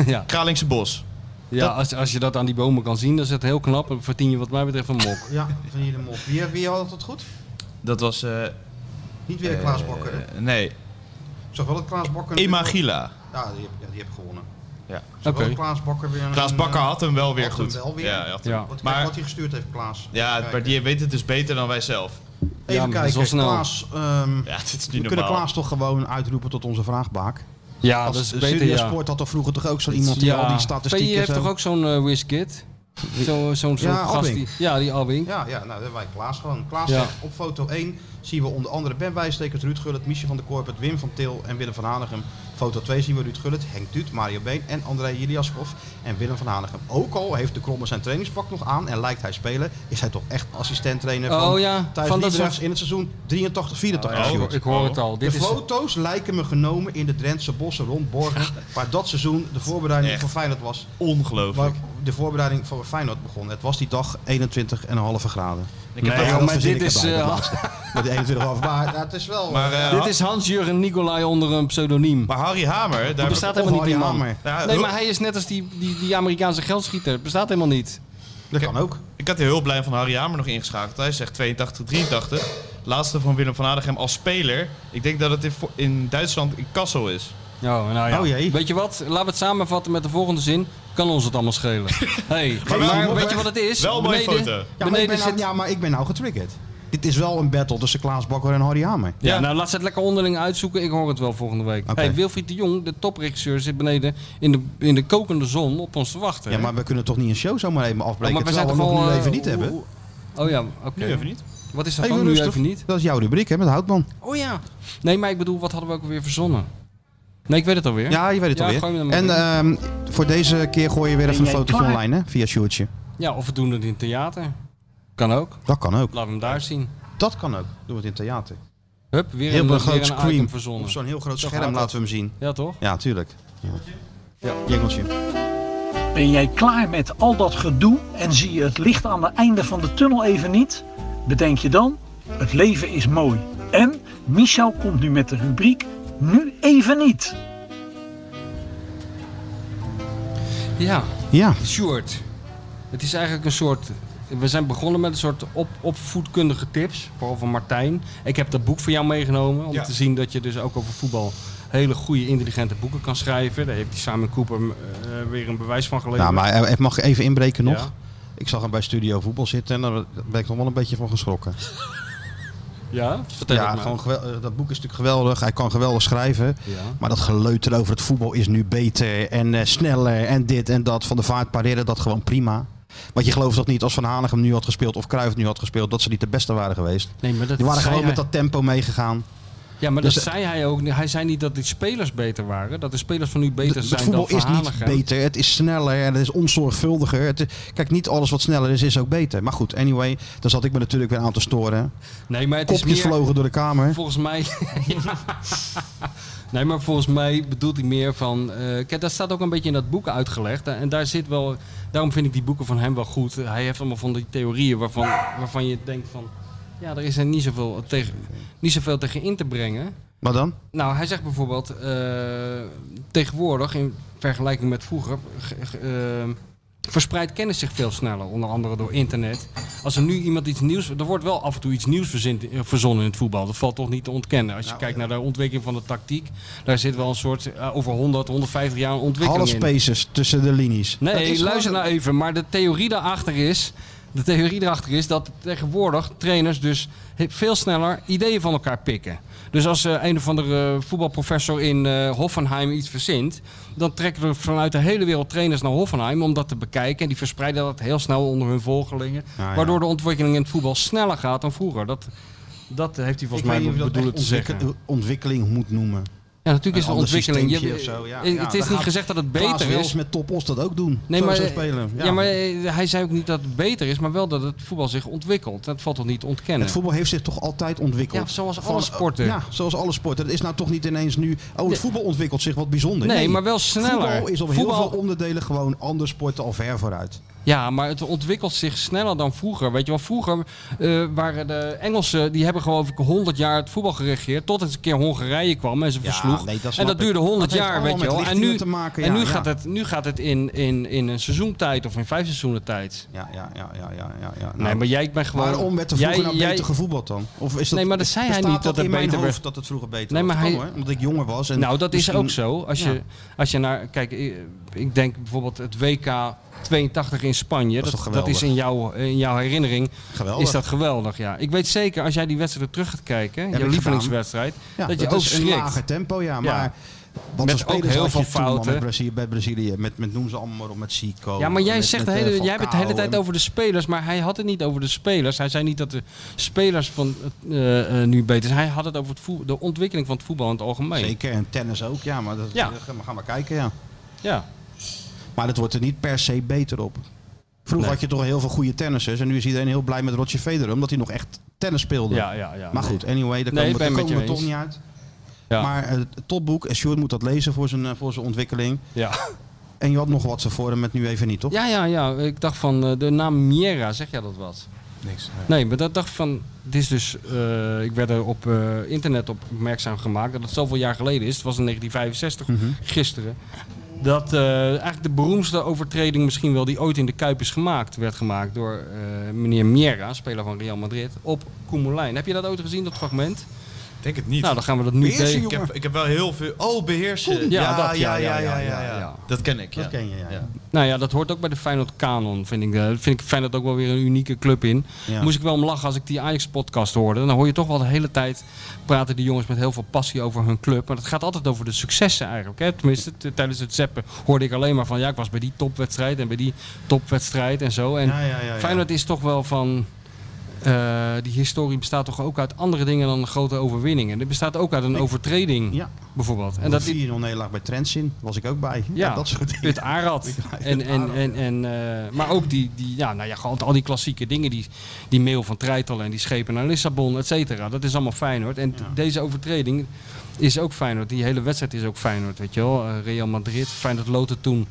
ja. Kralingse Bos. Ja, als, als je dat aan die bomen kan zien, dan is het heel knap. Dan verdien je wat mij betreft een mok. Ja, van jullie mop. Wie, wie had het goed? Dat was... eh, Niet weer Klaas eh, Bakker. hè? nee, Ik zag wel dat Klaas Bakker... Emma Gila. Ja, die heb, ja, die heb gewonnen. Ja. Ik zag wel Oké. dat Klaas Bakker weer... een- Klaas Bakker had hem wel weer had hem goed. wel weer. Ja, hij had hem- Ja. Wat, kijk Maar- wat hij gestuurd heeft, Klaas. ja, Even maar die weet het dus beter dan wij zelf. kijken. Even maar dat is kijken, wel snel. Klaas... ehm, Ja, dit is we niet kunnen normaal. Klaas toch gewoon uitroepen tot onze vraagbaak. Ja, Als dat is de beter, Studio dus- ja. Sport had toch vroeger toch ook zo iemand die al die P.I. statistieken... heeft zo- toch ook zo'n eh, WizKid? Zo- Zo'n soort Ja, gast Albink. die... Ja, die Albink. Ja, ja, nou, dat hebben wij Klaas gewoon. Klaas Ja. zegt, op foto 1 zien we onder andere Ben Wijstekers, Ruud Gullit, Michel van der Korpert, Wim van Til en Willem van Hanegem. Foto 2 zien we Ruud Gullit, Henk Duut, Mario Been en André Jeliaskov en Willem van Hanegem. Ook al heeft de Kromme zijn trainingspak nog aan en lijkt hij spelen, is hij toch echt assistent-trainer Oh van ja, Thijs van dat Liedrechts soort- in het seizoen 83, 84. Oh, Ik hoor- Sjoerd. Ik hoor het al. De Dit is... foto's lijken me genomen in de Drentse bossen rond Borgen, waar dat seizoen de voorbereiding Echt. voor Feyenoord was. Waar Ongelooflijk. de voorbereiding voor Feyenoord begon. Het was die dag 21,5 graden. Ik heb Nee, dat- joh, dat maar verzin dit ik is, erbij, dat eh, laatste. Met die 21,5. Maar ja, het is wel... maar, eh, Dit is Hans-Jurgen Nicolai onder een pseudoniem. maar Harry Hamer, daar Die bestaat of helemaal niet, die Harry man. Hammer. Ja, Nee, Ro- maar hij is net als die, die, die Amerikaanse geldschieter. Bestaat helemaal niet. dat kan ook. Ik had de hulplijn van Harry Hamer nog ingeschakeld. Hij zegt 82, 83. Laatste van Willem van Adegem als speler. Ik denk dat het in, Vo- in Duitsland in Kassel is. Oh, nou ja. Oh, jee. Weet je wat? Laten we het samenvatten met de volgende zin. Kan ons het allemaal schelen. hey, maar, wel- weet je wat het is? wel een mooie Beneden- foto. Ja, Ja maar, ik beneden ben nou, zit... ja, maar ik ben nou getriggerd. Dit is wel een battle tussen Klaas Bakker en Harry Hamer. Ja, Ja. nou laat ze het lekker onderling uitzoeken. Ik hoor het wel volgende week. Oké. Hey, Wilfried de Jong, de topregisseur, zit beneden in de, in de kokende zon op ons te wachten. Ja, hè? maar we kunnen toch niet een show zomaar even afbreken, maar terwijl we nog al, nu eh, even niet oeh, hebben? oeh. Oh ja, oké. Nu even niet. Wat is dat Even dan? Nu rustig. even niet? Dat is jouw rubriek, hè, met Houtman. Oh ja. Nee, maar ik bedoel, wat hadden we ook alweer verzonnen? Nee, ik weet het alweer. Ja, je weet het Ja, alweer. gooi me er maar En in. ehm, voor deze keer gooi je weer even een foto online, hè, via Sjoerdje. Ja, of we doen het in het theater. Kan ook. Dat kan ook. Laat hem daar zien. Dat kan ook. Doen we het in het theater. Hup, weer Heel een, een weer groot een item screen. verzonnen. Op zo'n heel groot Zo scherm gaat laten we hem zien. Ja, toch? Ja, tuurlijk. Ja. Jingeltje. Ben jij klaar met al dat gedoe en zie je het licht aan het einde van de tunnel even niet? Bedenk je dan, het leven is mooi. En Michel komt nu met de rubriek Nu even niet. Ja, Ja. Sjoerd. Het is eigenlijk een soort... We zijn begonnen met een soort op, opvoedkundige tips. Vooral van Martijn. Ik heb dat boek van jou meegenomen. Om Ja. te zien dat je dus ook over voetbal hele goede, intelligente boeken kan schrijven. Daar heeft die Simon Cooper eh, weer een bewijs van geleverd. Nou, maar eh, mag ik even inbreken nog? Ja. Ik zag hem bij Studio Voetbal zitten en daar ben ik nog wel een beetje van geschrokken. Ja? Vertel Ja, het me. gewoon gewel- eh, dat boek is natuurlijk geweldig. Hij kan geweldig schrijven. Ja. Maar dat geleuter over het voetbal is nu beter en eh, sneller en dit en dat. Van de vaart pareren dat gewoon prima. Want je gelooft toch niet als Van Hanegem nu had gespeeld of Cruijff nu had gespeeld... dat ze niet de beste waren geweest. Nee, maar dat Die waren zei gewoon met hij- dat tempo meegegaan. Ja, maar Dus, dat eh, zei hij ook. niet. Hij zei niet dat die spelers beter waren. Dat de spelers van nu beter Het zijn voetbal dan is Van niet Hanegem. beter. Het is sneller en het is onzorgvuldiger. Het is- kijk, niet alles wat sneller is, is ook beter. Maar goed, anyway, daar zat ik me natuurlijk weer aan te storen. Nee, maar het is Kopjes meer... vlogen door de kamer. Volgens mij... Ja. Nee, maar volgens mij bedoelt hij meer van... eh, kijk, dat staat ook een beetje in dat boek uitgelegd. En daar zit wel... Daarom vind ik die boeken van hem wel goed. Hij heeft allemaal van die theorieën waarvan, waarvan je denkt van... Ja, er is er niet zoveel, tegen, niet zoveel tegen in te brengen. Maar dan? Nou, hij zegt bijvoorbeeld... eh, tegenwoordig, in vergelijking met vroeger... ge- ge- eh, verspreidt kennis zich veel sneller. Onder andere door internet. Als er nu iemand iets nieuws... Er wordt wel af en toe iets nieuws verzint, eh, verzonnen in het voetbal. Dat valt toch niet te ontkennen. Als je kijkt naar de ontwikkeling van de tactiek... daar zit wel een soort... eh, over 100, 150 jaar een ontwikkeling Alle in. spaces tussen de linies. Dat Nee, is luister gewoon- nou even. Maar de theorie daarachter is... De theorie erachter is dat tegenwoordig trainers dus he- veel sneller ideeën van elkaar pikken. Dus als eh, een of andere voetbalprofessor in eh, Hoffenheim iets verzint, dan trekken er vanuit de hele wereld trainers naar Hoffenheim om dat te bekijken. En die verspreiden dat heel snel onder hun volgelingen. Ja, ja. Waardoor de ontwikkeling in het voetbal sneller gaat dan vroeger. Dat, dat heeft Ik hij volgens weet mij niet of je dat bedoelen echt te zeggen. ontwikkel- ontwikkeling moet noemen. Ja, natuurlijk is Een de ander ontwikkeling. Je, systeempje of zo, ja. eh, Ja, het daar is niet gaat gezegd dat het Klaas beter Wils is. met Top Os dat ook doen. Nee, Zo maar, zou spelen. Ja. maar eh, hij zei ook niet dat het beter is, maar wel dat het voetbal zich ontwikkelt. Dat valt toch niet te ontkennen. Het voetbal heeft zich toch altijd ontwikkeld. eh, Ja, zoals alle sporten. Ja, zoals alle sporten. Het is nou toch niet ineens nu... Oh, het Nee. voetbal ontwikkelt zich wat bijzonder. Nee, maar wel sneller. Voetbal is op Voetbal- heel veel onderdelen gewoon andere sporten al ver vooruit. Ja, maar het ontwikkelt zich sneller dan vroeger. Weet je wel, vroeger eh, waren de Engelsen, die hebben gewoon 100 jaar het voetbal geregeerd. Tot het een keer Hongarije kwam en ze Ja, versloeg. nee, dat snap en dat ik. duurde 100 Dat heeft jaar, allemaal weet je met wel. En richtingen nu, te maken, en ja, nu, ja. Gaat het, nu gaat het in, in, in een seizoentijd of in vijf seizoenen tijd. Ja, ja, ja, ja, ja. ja, ja. nee, Nou, maar jij bent gewoon. Waarom werd er jij- vroeger nou jij- beter gevoetbald dan? Of is dat, Nee, maar dat zei hij bestaat niet, dat het in mijn beter hoofd werd. dat het vroeger beter Nee, was. maar Kan, hij- hoor, omdat ik jonger was. En nou, dat misschien- is ook zo. Als, Ja. je, als je naar. Kijk, eh, ik denk bijvoorbeeld het WK 82 in Spanje. Dat is Dat, toch dat is in jouw, in jouw herinnering. Geweldig. Is dat geweldig, ja. Ik weet zeker, als jij die wedstrijd terug gaat kijken, ik je gedaan. lievelingswedstrijd, Ja, dat je dat ook is een schrikt. lager tempo, ja. Maar Want Met de spelers ook heel had je veel toen al fouten. Met Brazilië, bij Brazilië, met, met noem ze allemaal maar op, met Zico. Ja, maar jij, met- zegt met, de eh, hele, jij hebt het de hele Falcao tijd en- over de spelers, maar hij had het niet over de spelers. Hij zei niet dat de spelers van eh, eh, nu beter zijn. Hij had het over het voe- de ontwikkeling van het voetbal in het algemeen. Zeker, en tennis ook, ja. Maar dat, Ja. we gaan- we gaan maar kijken, ja. Ja. Maar dat wordt er niet per se beter op. Vroeger Nee. had je toch heel veel goede tennissers. En nu is iedereen heel blij met Roger Federer, omdat hij nog echt tennis speelde. Ja, ja, ja. maar goed, anyway, daar Nee, ik komen, ben daar komen met we je toch eens. niet uit. Ja. Maar eh, het topboek, en Sjoerd moet dat lezen voor zijn, eh, voor zijn ontwikkeling. Ja. En je had nog wat voor hem, met nu even niet, toch? ja, ja, ja. Ik dacht van eh, de naam Miera, zeg jij dat wat? Niks. Nee, maar dat dacht van. Dit is dus. eh, ik werd er op eh, internet op opmerkzaam gemaakt dat het zoveel jaar geleden is. Het was in 1965, gisteren. Dat eh, eigenlijk de beroemdste overtreding misschien wel die ooit in de Kuip is gemaakt, werd gemaakt door eh, meneer Miera, speler van Real Madrid, op Koemelijn. Heb je dat ooit gezien, dat fragment? Ik denk het niet. Nou, dan gaan we dat nu Beheersen, delen. joh. ik, heb, ik heb wel heel veel... Oh, beheersen. Ja, dat, ja, ja, ja, ja. ja. Dat ken ik, ja. Dat ken je, ja. Ja. Nou ja, dat hoort ook bij de Feyenoord kanon, vind ik. eh, vind ik Feyenoord ook wel weer een unieke club in. Ja. Moest ik wel om lachen als ik die Ajax-podcast hoorde. Dan hoor je toch wel de hele tijd praten die jongens met heel veel passie over hun club. Maar het gaat altijd over de successen eigenlijk. Hè? Tenminste, t- tijdens het zeppen hoorde ik alleen maar van... ja, ik was bij die topwedstrijd en bij die topwedstrijd en zo. En Ja, ja, ja, ja. Feyenoord is toch wel van... eh, die historie bestaat toch ook uit andere dingen dan grote overwinningen. Dit bestaat ook uit een overtreding, Ja. bijvoorbeeld. En En dat dat, 4-0 nederlaag bij Trensin, was ik ook bij. Ja, Ja. dat soort dingen. het Arad. En, en, en, en, eh, maar ook die, die ja, nou ja, gewoon al die klassieke dingen. Die, die mail van Treitel en die schepen naar Lissabon, et cetera. Dat is allemaal Feyenoord. En t- deze overtreding is ook Feyenoord. Die hele wedstrijd is ook Feyenoord, weet je wel. Eh, Real Madrid, Feyenoord loten toen...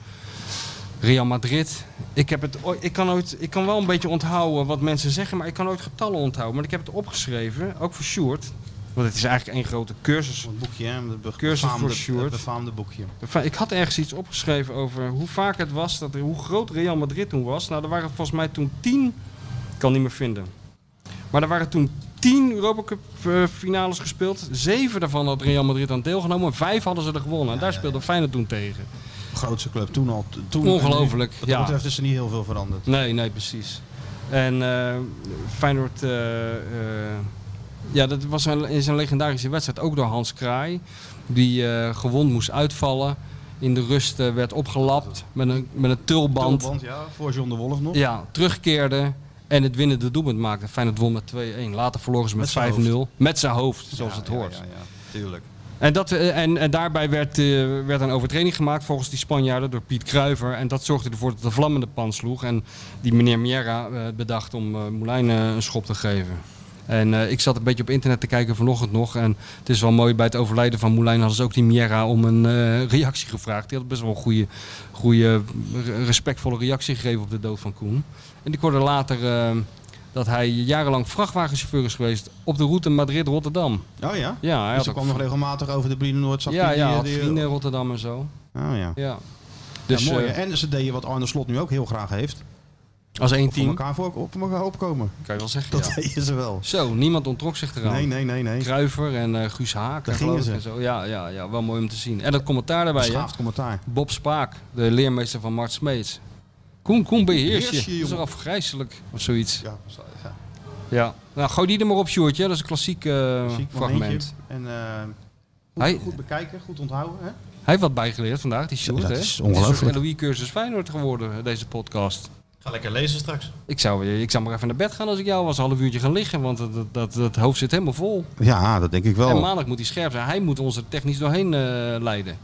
Real Madrid. Ik, heb het, ooit- ik, kan ooit, ik kan wel een beetje onthouden wat mensen zeggen, maar ik kan ooit getallen onthouden. Maar ik heb het opgeschreven, ook voor Sjoerd. Want het is eigenlijk één grote cursus Het boekje, hè? Het be- Cursus befaamde- voor Sjoerd. Het befaamde boekje. Enfin, Ik had ergens iets opgeschreven over hoe vaak het was, dat, hoe groot Real Madrid toen was. Nou, er waren volgens mij toen tien, ik kan niet meer vinden. Maar er waren toen tien Europa Cup eh, finales gespeeld. Zeven daarvan had Real Madrid aan deelgenomen. en Vijf hadden ze er gewonnen. En daar speelde Feyenoord toen tegen. Grootste club toen al. t- Toen, Ongelooflijk, en nu. Wat ja. dat betreft is er niet heel veel veranderd. Nee, nee, precies. En eh Feyenoord, eh, eh, ja, dat was een, is een legendarische wedstrijd, ook door Hans Kraai. Die eh, gewond moest uitvallen. In de rust eh, werd opgelapt met een, met een tulband. Tulband, ja, voor John de Wolf nog. Ja, terugkeerde en het winnende doelpunt maakte. Feyenoord won met 2-1. Later verloren ze Met zijn met, 5-0. Met zijn hoofd, zoals het hoort. Ja, ja, ja, tuurlijk. En, dat, eh, en, en daarbij werd, eh, werd een overtreding gemaakt volgens die Spanjaarden door Piet Kruiver. En dat zorgde ervoor dat de vlammende pan sloeg. En die meneer Miera eh, bedacht om eh Moulijn eh, een schop te geven. En eh, ik zat een beetje op internet te kijken vanochtend nog. En het is wel mooi, bij het overlijden van Moulijn hadden ze ook die Miera om een eh, reactie gevraagd. Die had best wel een goede, goede, re- respectvolle reactie gegeven op de dood van Koen. En ik hoorde later eh, dat hij jarenlang vrachtwagenchauffeur is geweest op de route Madrid-Rotterdam. Oh ja? Ja, hij Dus had ze ook kwam nog regelmatig over de Brine Noord. zag ja, je ja, die- eh, had die- vrienden in Rotterdam en zo. Oh ja. Ja. Dus, Dus mooi. eh, hè? en ze deden wat Arne Slot nu ook heel graag heeft. als één Voor team, kan elkaar, voor, op elkaar opkomen. je wel zeggen. Dat ja. deden ze wel. Zo, niemand ontrok zich eraan. Nee, nee, nee, nee. Kruiver en eh, Guus Haak Daar en geloof gingen ik ze. en zo. Ja, ja, ja, wel mooi om te zien. En dat commentaar daarbij, hè? Schaafd commentaar. Bob Spaak, de leermeester van Mart Smeets. Koen, Koen, beheers je. Beheers je, Dat is jongen. al afgrijzelijk of zoiets. Ja, zo- ja. Ja. Nou, gooi die er maar op, Sjoerdje. Dat is een klassiek, eh, Ziek fragment. momentje. En eh, Hij- goed, goed bekijken, goed onthouden. Hè? Hij heeft wat bijgeleerd vandaag, die Sjoerd. dat hè? is Het een ongelooflijk. soort LOE-cursus Feyenoord geworden, deze podcast. Ga lekker lezen straks. Ik zou, ik zou maar even naar bed gaan als ik jou was. Een half uurtje gaan liggen, want dat, dat, dat, dat hoofd zit helemaal vol. Ja, dat denk ik wel. En nou, maandag moet hij scherp zijn. Hij moet ons er technisch doorheen eh, leiden.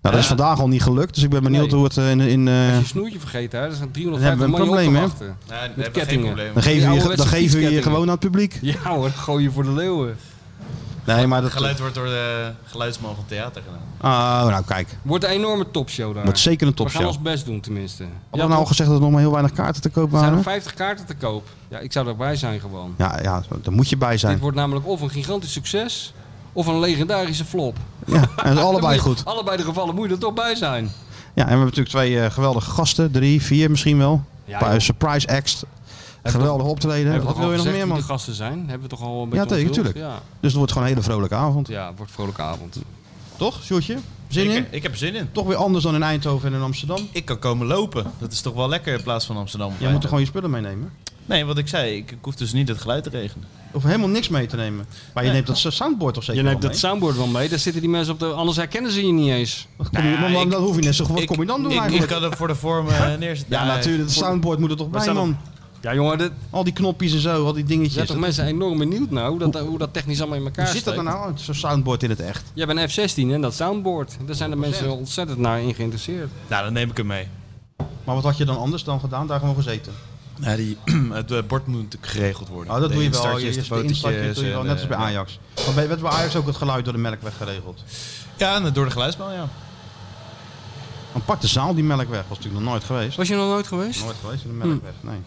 dat is vandaag al niet gelukt, dus ik ben benieuwd Nee. hoe het eh, in... in eh, Als je snoertje vergeten, hè, er zijn hebben we 350 een man op te probleem, hè? wachten. Nee, nee, Met hebben we geen kettingen. probleem. dan Die geven we je, ouderwetse dan geven we je fietskettingen. gewoon aan het publiek. Ja hoor, dan gooi je voor de leeuwen. Nee, maar dat... Geluid wordt door de geluidsman van theater gedaan. Oh, nou kijk. Wordt een enorme topshow daar. Wordt zeker een We gaan topshow. ons best doen tenminste. Hadden we nou al gezegd dat er nog maar heel weinig kaarten te koop er zijn waren? er 50 kaarten te koop. Ja, ik zou erbij zijn gewoon. Ja, ja, daar moet je bij Dit zijn. wordt namelijk of een gigantisch succes, of een legendarische flop. Ja, en dat is Dan moet allebei je- goed. Allebei de gevallen moet je er toch bij zijn. Ja, en we hebben natuurlijk twee eh, geweldige gasten. Drie, vier misschien wel. Ja, Een paar joh. surprise acts. we Geweldig optreden. Hebben we Wat toch al wil je nog gezegd meer, wie man? de gasten zijn? Hebben we toch al een beetje tegen- onthuld? tuurlijk. Ja, Dus het wordt gewoon een hele vrolijke avond. ja, het wordt vrolijke avond. Toch, Sjoerdje? Zin Zeker, in? Ik heb er zin in. Toch weer anders dan in Eindhoven en in Amsterdam. Ik kan komen lopen. Dat is toch wel lekker in plaats van Amsterdam. Jij moet er gewoon je spullen meenemen. Nee, wat ik zei, ik, ik hoef dus niet het geluid te regelen. Of helemaal niks mee te nemen. Maar je Nee. neemt dat so- soundboard toch zeker Je neemt wel dat mee? soundboard wel mee, daar zitten die mensen op de... Anders herkennen ze je niet eens. Wat kom je- Nou ja, maar dan- ik- dan hoef je net zo Wat ik- kom je dan doen ik, ik eigenlijk? kan er voor de vorm eh, neerzetten. ja, natuurlijk. Het soundboard moet er toch Maar bij, staat man. Ja jongen, dat Al die knopjes en zo, al die dingetjes. zijn toch Dat- mensen enorm benieuwd nou, hoe dat, hoe dat nou? technisch allemaal in elkaar Hoe zit dat steekt. er nou uit, zo'n soundboard in het echt? Jij bent F-16 en dat soundboard. Daar zijn de mensen ontzettend naar in geïnteresseerd. Nou, dan neem ik hem mee. Maar wat had je dan anders dan gedaan? Daar gewoon gezeten. Nou, die, het eh, bord moet natuurlijk geregeld worden. Oh, dat De doe je wel. Je instartjes, je- de de instartje fotootjes doe je wel, en, net als eh, bij Ajax. Maar bij, werd bij Ajax ook het geluid door de melkweg geregeld? Ja, en door de geluidsbel, ja. Dan pak de zaal die melkweg. Was natuurlijk nog nooit geweest. Was je nog nooit geweest? Nooit geweest in de melkweg, nee.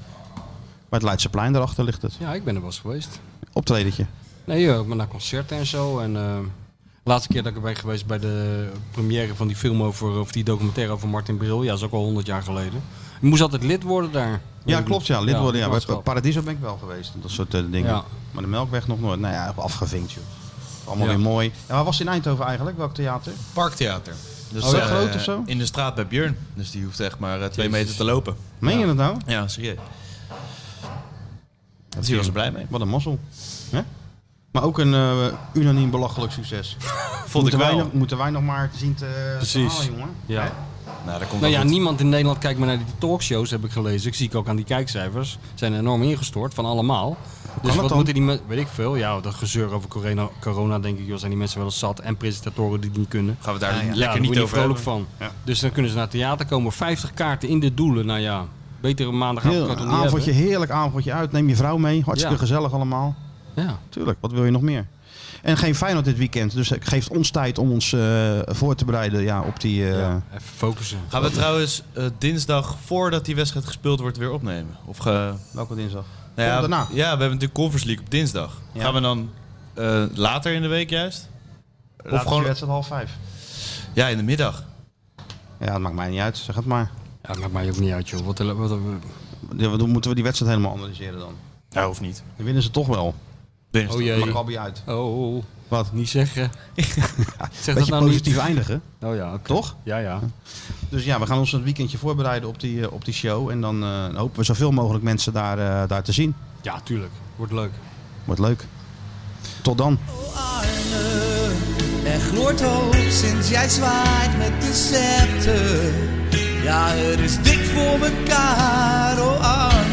Bij het Leidseplein daarachter ligt het. Ja, ik ben er wel eens geweest. Optredentje. Nee, joh, ik ben naar concerten en zo. En eh, de laatste keer dat ik er ben geweest bij de première van die film over, of die documentaire over Martin Bril. Ja, dat is ook al honderd jaar geleden. Je moest altijd lid worden daar. Ja, klopt. Ja, lid worden. Ja, bij lidmaatschap. Paradiso ben ik wel geweest. en Dat soort eh, dingen. Ja. Maar de Melkweg nog nooit. Nou ja, afgevinkt, joh. Allemaal Ja. weer mooi. En waar was het in Eindhoven eigenlijk? Welk theater? Parktheater. Dus, Oh, heel eh, groot of zo? In de straat bij Björn. Dus die hoeft echt maar eh, twee Jezus. meter te lopen. Meen je dat nou? Ja, serieus. Dus die was er blij mee. Wat een mazzel. Hè? Maar ook een eh, unaniem belachelijk succes. Vond ik moeten, wij wel. nog, moeten wij nog maar zien te Precies. halen, jongen. Ja. Hè? Nou, daar komt Nou wel ja, goed. niemand in Nederland kijkt meer naar die talkshows, heb ik gelezen. Ik zie ik ook aan die kijkcijfers. Zijn enorm ingestort van allemaal. Dus dat wat dan? moeten die mensen, weet ik veel, ja, dat gezeur over corona, corona denk ik, joh, zijn die mensen wel eens zat. En presentatoren die het niet kunnen. Gaan we Ah, daar Ja, lekker daar word niet je over vrolijk hebben. van. Ja. Dus dan kunnen ze naar het theater komen. 50 kaarten in de doelen, nou ja. Betere maandagavond Heel, kan het een toch niet avondje, heerlijk avondje uit. Neem je vrouw mee. Hartstikke Ja. gezellig allemaal. hebben? Ja. Tuurlijk, wat wil je nog meer? En geen Feyenoord dit weekend. Dus het geeft ons tijd om ons eh, voor te bereiden ja, op die... eh, Ja, even focussen. Gaan we trouwens eh, dinsdag, voordat die wedstrijd gespeeld wordt, weer opnemen? Of ge... Welke dinsdag? Nou ja, Komt daarna. Ja, we hebben natuurlijk Conference League op dinsdag. Ja. Gaan we dan eh, later in de week juist? of of gewoon gewoon... wedstrijd half vijf. Ja, in de middag. Ja, dat maakt mij niet uit. Zeg het maar. Ja, dat maakt mij ook niet uit, joh. Wat, wat, wat- Ja, dan moeten we die wedstrijd helemaal analyseren dan. Ja, hoeft niet. Dan winnen ze toch wel. Dinsdag. oh Dat mag jee. er al bij uit. Oh, Wat? niet zeggen. zeg dat Beetje nou positief niet. eindigen, Oh ja, oké. toch? Ja, ja. Dus ja, we gaan ons het weekendje voorbereiden op die, eh, op die show. En dan eh, hopen we zoveel mogelijk mensen daar, eh, daar te zien. Ja, tuurlijk. Wordt leuk. Wordt leuk. Tot dan. Arne, er gloort hoop sinds jij zwaait met de scepter. Ja, het is dik voor mekaar, oh Arne.